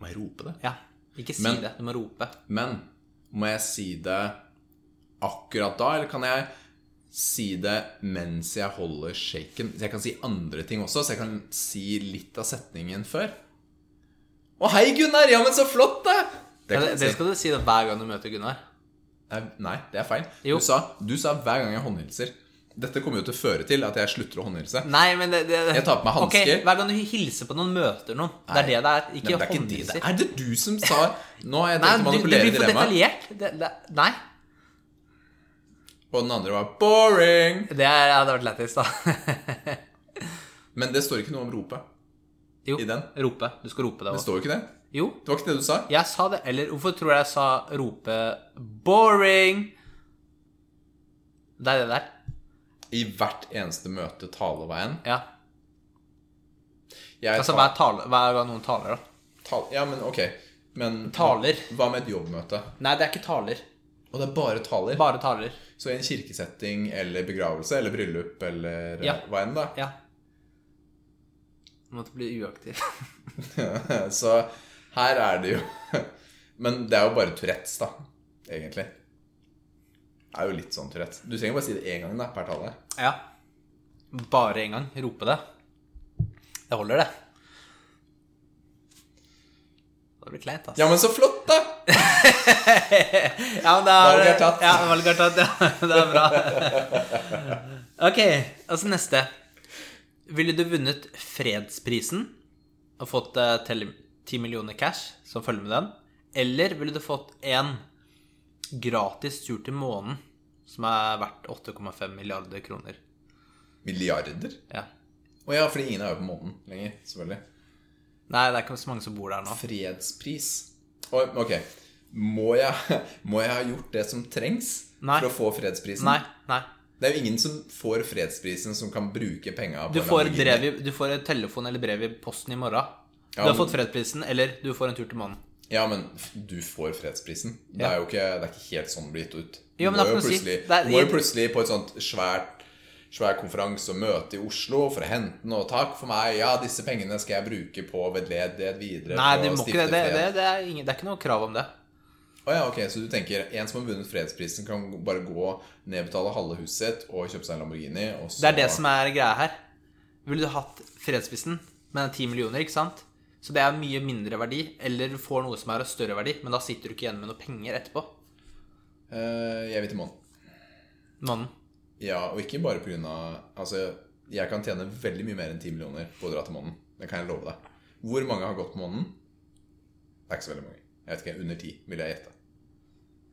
B: Må jeg rope det?
A: Ja. Ikke si
B: Men-
A: det. Du må rope.
B: Men må jeg si det akkurat da, eller kan jeg si det mens jeg holder shaken? Så jeg kan si andre ting også, så jeg kan si litt av setningen før. Å, hei, Gunnar! Ja, men så flott, da! Det
A: Ja,
B: kan
A: det,
B: jeg
A: det
B: si.
A: skal du si da hver gang du møter Gunnar.
B: Nei, Nei, det er feil.
A: Jo.
B: Du, sa, du sa hver gang jeg håndhilser. Dette kommer jo til å føre til at jeg slutter å håndhilse.
A: Nei, men det, det
B: Jeg tar på meg hansker.
A: Ok, Hver gang du hilser på noen, møter noen. Det er det det er.
B: Nei,
A: Ikke
B: men det er, ikke det. det
A: håndhilser.
B: er det du som sa Nå har jeg
A: Nei,
B: tenkt å
A: du, det
B: manipulere
A: blir for
B: dilemmaet.
A: detaljert. Det, det, nei.
B: Og den andre var 'boring'.
A: Det er- hadde vært lættis, da.
B: Men det står ikke noe om rope.
A: jo.
B: I den?
A: Rope. Du skal rope det
B: Det
A: òg.
B: står jo ikke det.
A: Jo,
B: Det var ikke det du sa.
A: jeg sa det. Eller hvorfor tror jeg jeg sa rope 'boring'? Det er det der.
B: I hvert eneste møte taleveien.
A: Ja.
B: Jeg
A: Altså
B: tar-
A: hver, tale, hver gang noen taler, da.
B: tal, ja, men ok. Men
A: Taler.
B: hva med et jobbmøte?
A: Nei, det er ikke taler.
B: Og det er bare taler.
A: Bare taler.
B: Så i en kirkesetting eller begravelse eller bryllup eller
A: Ja.
B: eh, hva enn, da.
A: Ja. Måtte bli uaktiv.
B: Så her er det jo Men det er jo bare Tourettes, da. Egentlig. Det er jo litt sånn Tourettes. Du trenger bare si det én gang da, per tale.
A: Ja. Bare en gang. Rope det. Det holder, det. Det blir kleint, altså.
B: Ja, men så flott, da!
A: Ja, men det er,
B: Valget er tatt.
A: Ja, valget er tatt, ja. Det er bra. Ok, altså neste. Ville du vunnet fredsprisen og fått eh, tele- 10 millioner cash som følger med den? Eller ville du fått en gratis tur til månen som er verdt 8,5 milliarder kroner?
B: Milliarder?
A: Ja.
B: Å ja, fordi ingen er jo på månen lenger, selvfølgelig.
A: Nei, det er ikke så mange som bor der nå.
B: Fredspris. Oi, ok. Må jeg, må jeg ha gjort det som trengs
A: Nei.
B: for å få fredsprisen?
A: Nei, nei.
B: Det er jo ingen som får fredsprisen som kan bruke penga på
A: Du
B: en
A: får,
B: Lamborghini.
A: drev, i- du får et telefon eller brev i posten i morgen. Du
B: Ja,
A: har
B: men-
A: fått fredsprisen, eller du får en tur til månen.
B: Ja, men f- du får fredsprisen. Det
A: Ja.
B: er jo ikke, det er ikke helt sånn det blir gitt ut. Du
A: Jo, men det
B: må,
A: er ikke noe
B: jo
A: å si.
B: plutselig,
A: Det er-
B: du må jo plutselig på et sånt svært svær konferanse og møte i Oslo for å hente noe. Takk for meg, ja, disse pengene skal jeg bruke på vedledighet videre.
A: Nei,
B: på
A: du
B: å
A: må ikke det.
B: stifte
A: Det,
B: fred.
A: det, det, er ingen, det er ikke noe krav om det.
B: Å ja, ok, Så du tenker en som har vunnet fredsprisen, kan bare gå, nedbetale halve huset sitt og kjøpe seg en Lamborghini? Og så...
A: Det er det som er greia her. Ville du hatt fredsprisen med 10 millioner, ikke sant? Så det er mye mindre verdi, eller du får noe som er av større verdi, men da sitter du ikke igjen med noe penger etterpå.
B: Eh, Jeg vil til månen.
A: Mannen.
B: Ja, og ikke bare pga. Altså, jeg kan tjene veldig mye mer enn 10 millioner på å dra til månen. Det kan jeg love deg. Hvor mange har gått på månen? Det er ikke så veldig mange. Jeg vet ikke, Under ti, vil jeg gjette.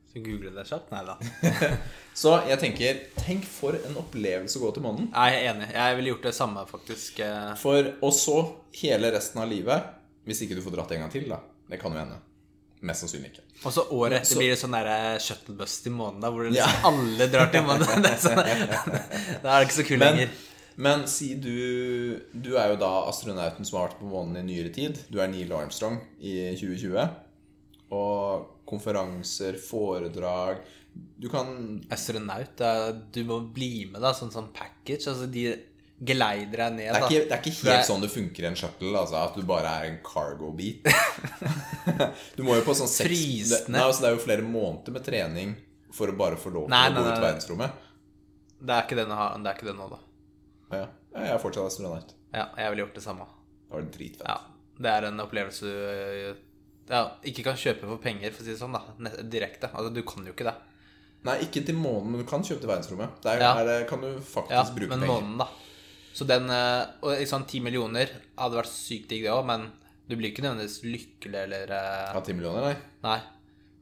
A: Så googler du deg kjapt? Nei da.
B: Så jeg tenker Tenk for en opplevelse å gå til månen.
A: Jeg er enig. Jeg ville gjort det samme, faktisk. Eh,
B: For Og så hele resten av livet. Hvis ikke du får dratt en gang til, da. Det kan jo hende. Mest sannsynlig ikke.
A: Og så året etter
B: Så-
A: blir det sånn derre shuttlebuss til månen, da, hvor det
B: Ja.
A: liksom alle drar til månen. Det er sånn, da er det ikke så kult
B: Men,
A: lenger.
B: men si du Du er jo da astronauten som har vært på månen i nyere tid. Du er Neil Armstrong i 2020. Og konferanser, foredrag Du kan
A: Astronaut, da, du må bli med, da, sånn sånn package. Altså, de geleider deg ned,
B: det er,
A: da.
B: ikke, det er ikke
A: Nei.
B: helt sånn det funker i en shuttle. Altså, at du bare er en cargo-bit. Du må jo på sånn seks
A: Frysende.
B: Det- Nei, altså, det er jo flere måneder med trening for å bare få lov til
A: Nei,
B: å
A: nei,
B: gå ut i
A: nei.
B: verdensrommet.
A: Det er ikke det nå, det er ikke det nå da.
B: Ja, ja, jeg er fortsatt astronaut.
A: Ja, jeg ville gjort det samme.
B: Det var dritfett.
A: Ja, Det er en opplevelse du øh, ja, ikke kan kjøpe for penger, for å si det sånn. da ne- Direkte. Altså, du kan jo ikke det.
B: Nei, ikke til månen, men du kan kjøpe til verdensrommet. Der
A: Ja.
B: er det- kan du faktisk
A: Ja,
B: bruke
A: men
B: penger.
A: månen, da. Så den øh, Og ikke sant, ti millioner hadde vært sykt digg, det òg, men du blir ikke nødvendigvis lykkelig eller øh,
B: Ja, 10 millioner, nei.
A: Nei.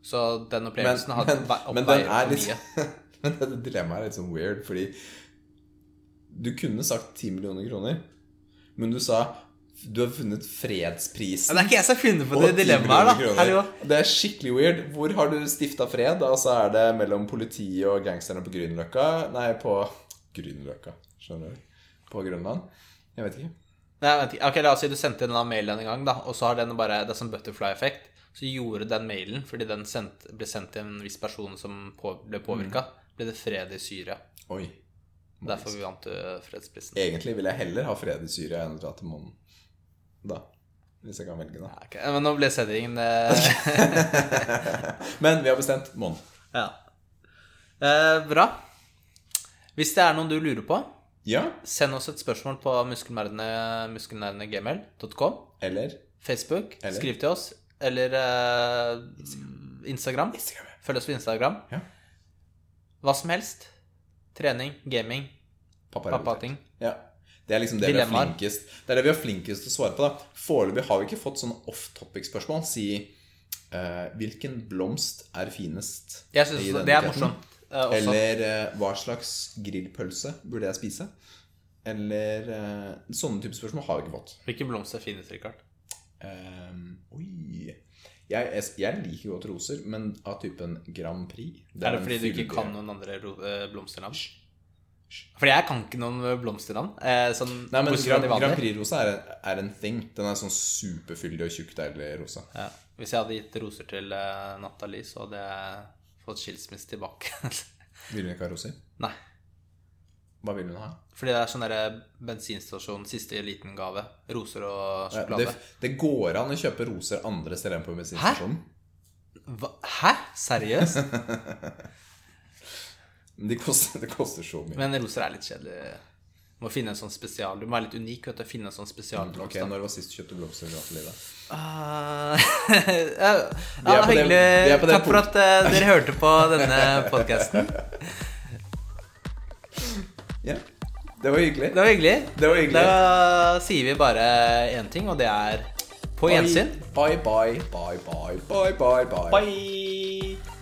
A: Så den
B: Men,
A: opplevelsen hadde
B: men,
A: vei-
B: men
A: oppveier
B: den
A: for
B: er
A: mye.
B: litt Men dette dilemmaet er litt sånn weird, fordi du kunne sagt 10 millioner kroner, men du sa du har funnet
A: Ja,
B: fredsprisen.
A: Det er ikke jeg som har funnet på
B: og
A: det
B: 10
A: dilemmaet her,
B: millioner
A: da. Hallo.
B: kroner. Det er skikkelig weird. Hvor har du stifta fred? Altså er det mellom politiet og gangsterne på Grünerløkka Nei, på Grünerløkka, skjønner du. På Grønland. Jeg vet ikke.
A: Nei, vent, ikke. ok, La oss si du sendte en eller annen mail en gang, da, og så har den bare Det er sånn butterfly-effekt. Så gjorde den mailen, fordi den sendt, ble sendt til en viss person som på, ble påvirka, ble det fred i Syria.
B: Oi.
A: Derfor vi vant eh, fredsprisen.
B: Egentlig vil jeg heller ha fred i Syria enn å dra til månen. Da. Hvis jeg kan velge, da.
A: Ja, ok. Men nå ble settingen eh,
B: Men vi har bestemt månen.
A: ja. eh, Bra. Hvis det er noen du lurer på,
B: Ja,
A: send oss et spørsmål på muskelnerdene- muskelnerdene.gmail.com.
B: eller
A: Facebook.
B: Eller?
A: Skriv til oss. Eller eh, Instagram.
B: Instagram.
A: Følg oss på Instagram.
B: Ja.
A: Hva som helst. Trening, gaming,
B: Pappa er ute.
A: pappating.
B: Ja. Det er liksom det vi er
A: Dilemmaer.
B: flinkest Det er det vi er flinkest til å svare på. da Foreløpig har vi ikke fått sånne off topic-spørsmål. Si eh, hvilken blomst er finest?
A: Jeg synes
B: i
A: også
B: denne
A: det er
B: buketten?
A: morsomt. eh, også.
B: Eller eh, hva slags grillpølse burde jeg spise? Eller eh, Sånne type spørsmål har vi ikke fått.
A: Hvilke blomster finnes, Rikard?
B: Ehm, oi jeg, jeg, jeg liker godt roser, men av typen Grand Prix.
A: Er det
B: den
A: fordi du ikke
B: fyldige-
A: kan noen andre ro- eh, blomsternavn? Fordi jeg kan ikke noen blomsternavn. Eh, sånn,
B: Nei, men
A: bortsett fra
B: Grand,
A: de vanlige.
B: Grand Prix-rosa er, er en thing. Den er sånn superfyldig og tjukk, deilig rosa.
A: Ja. Hvis jeg hadde gitt roser til eh, Nathalie, så hadde jeg fått skilsmisse tilbake.
B: Vil hun ikke ha roser?
A: Nei.
B: Hva vil hun ha?
A: Fordi det er sånn derre bensinstasjon, siste liten gave. Roser og
B: Ja,
A: sjokolade.
B: Det, det går an å kjøpe roser andre steder enn på bensinstasjonen.
A: Hva? Hæ? Seriøst?
B: Men de koster, det koster så mye.
A: Men roser er litt kjedelig. Du må finne en sånn spesial. Du må være litt unik vet du, og finne en sånn
B: ok,
A: spesialblomst. da.
B: Når var sist du kjøpte blomster? i livet?
A: Ah, ja, det
B: Vi er
A: var
B: på det-
A: hyggelig.
B: vi er på det
A: Takk for at eh, dere hørte på denne podkasten.
B: Ja, det var hyggelig.
A: Det var hyggelig.
B: Det var hyggelig.
A: Da sier vi bare én ting, og det er på gjensyn.
B: Bye, bye, bye, bye, bye, bye, bye.
A: Bye.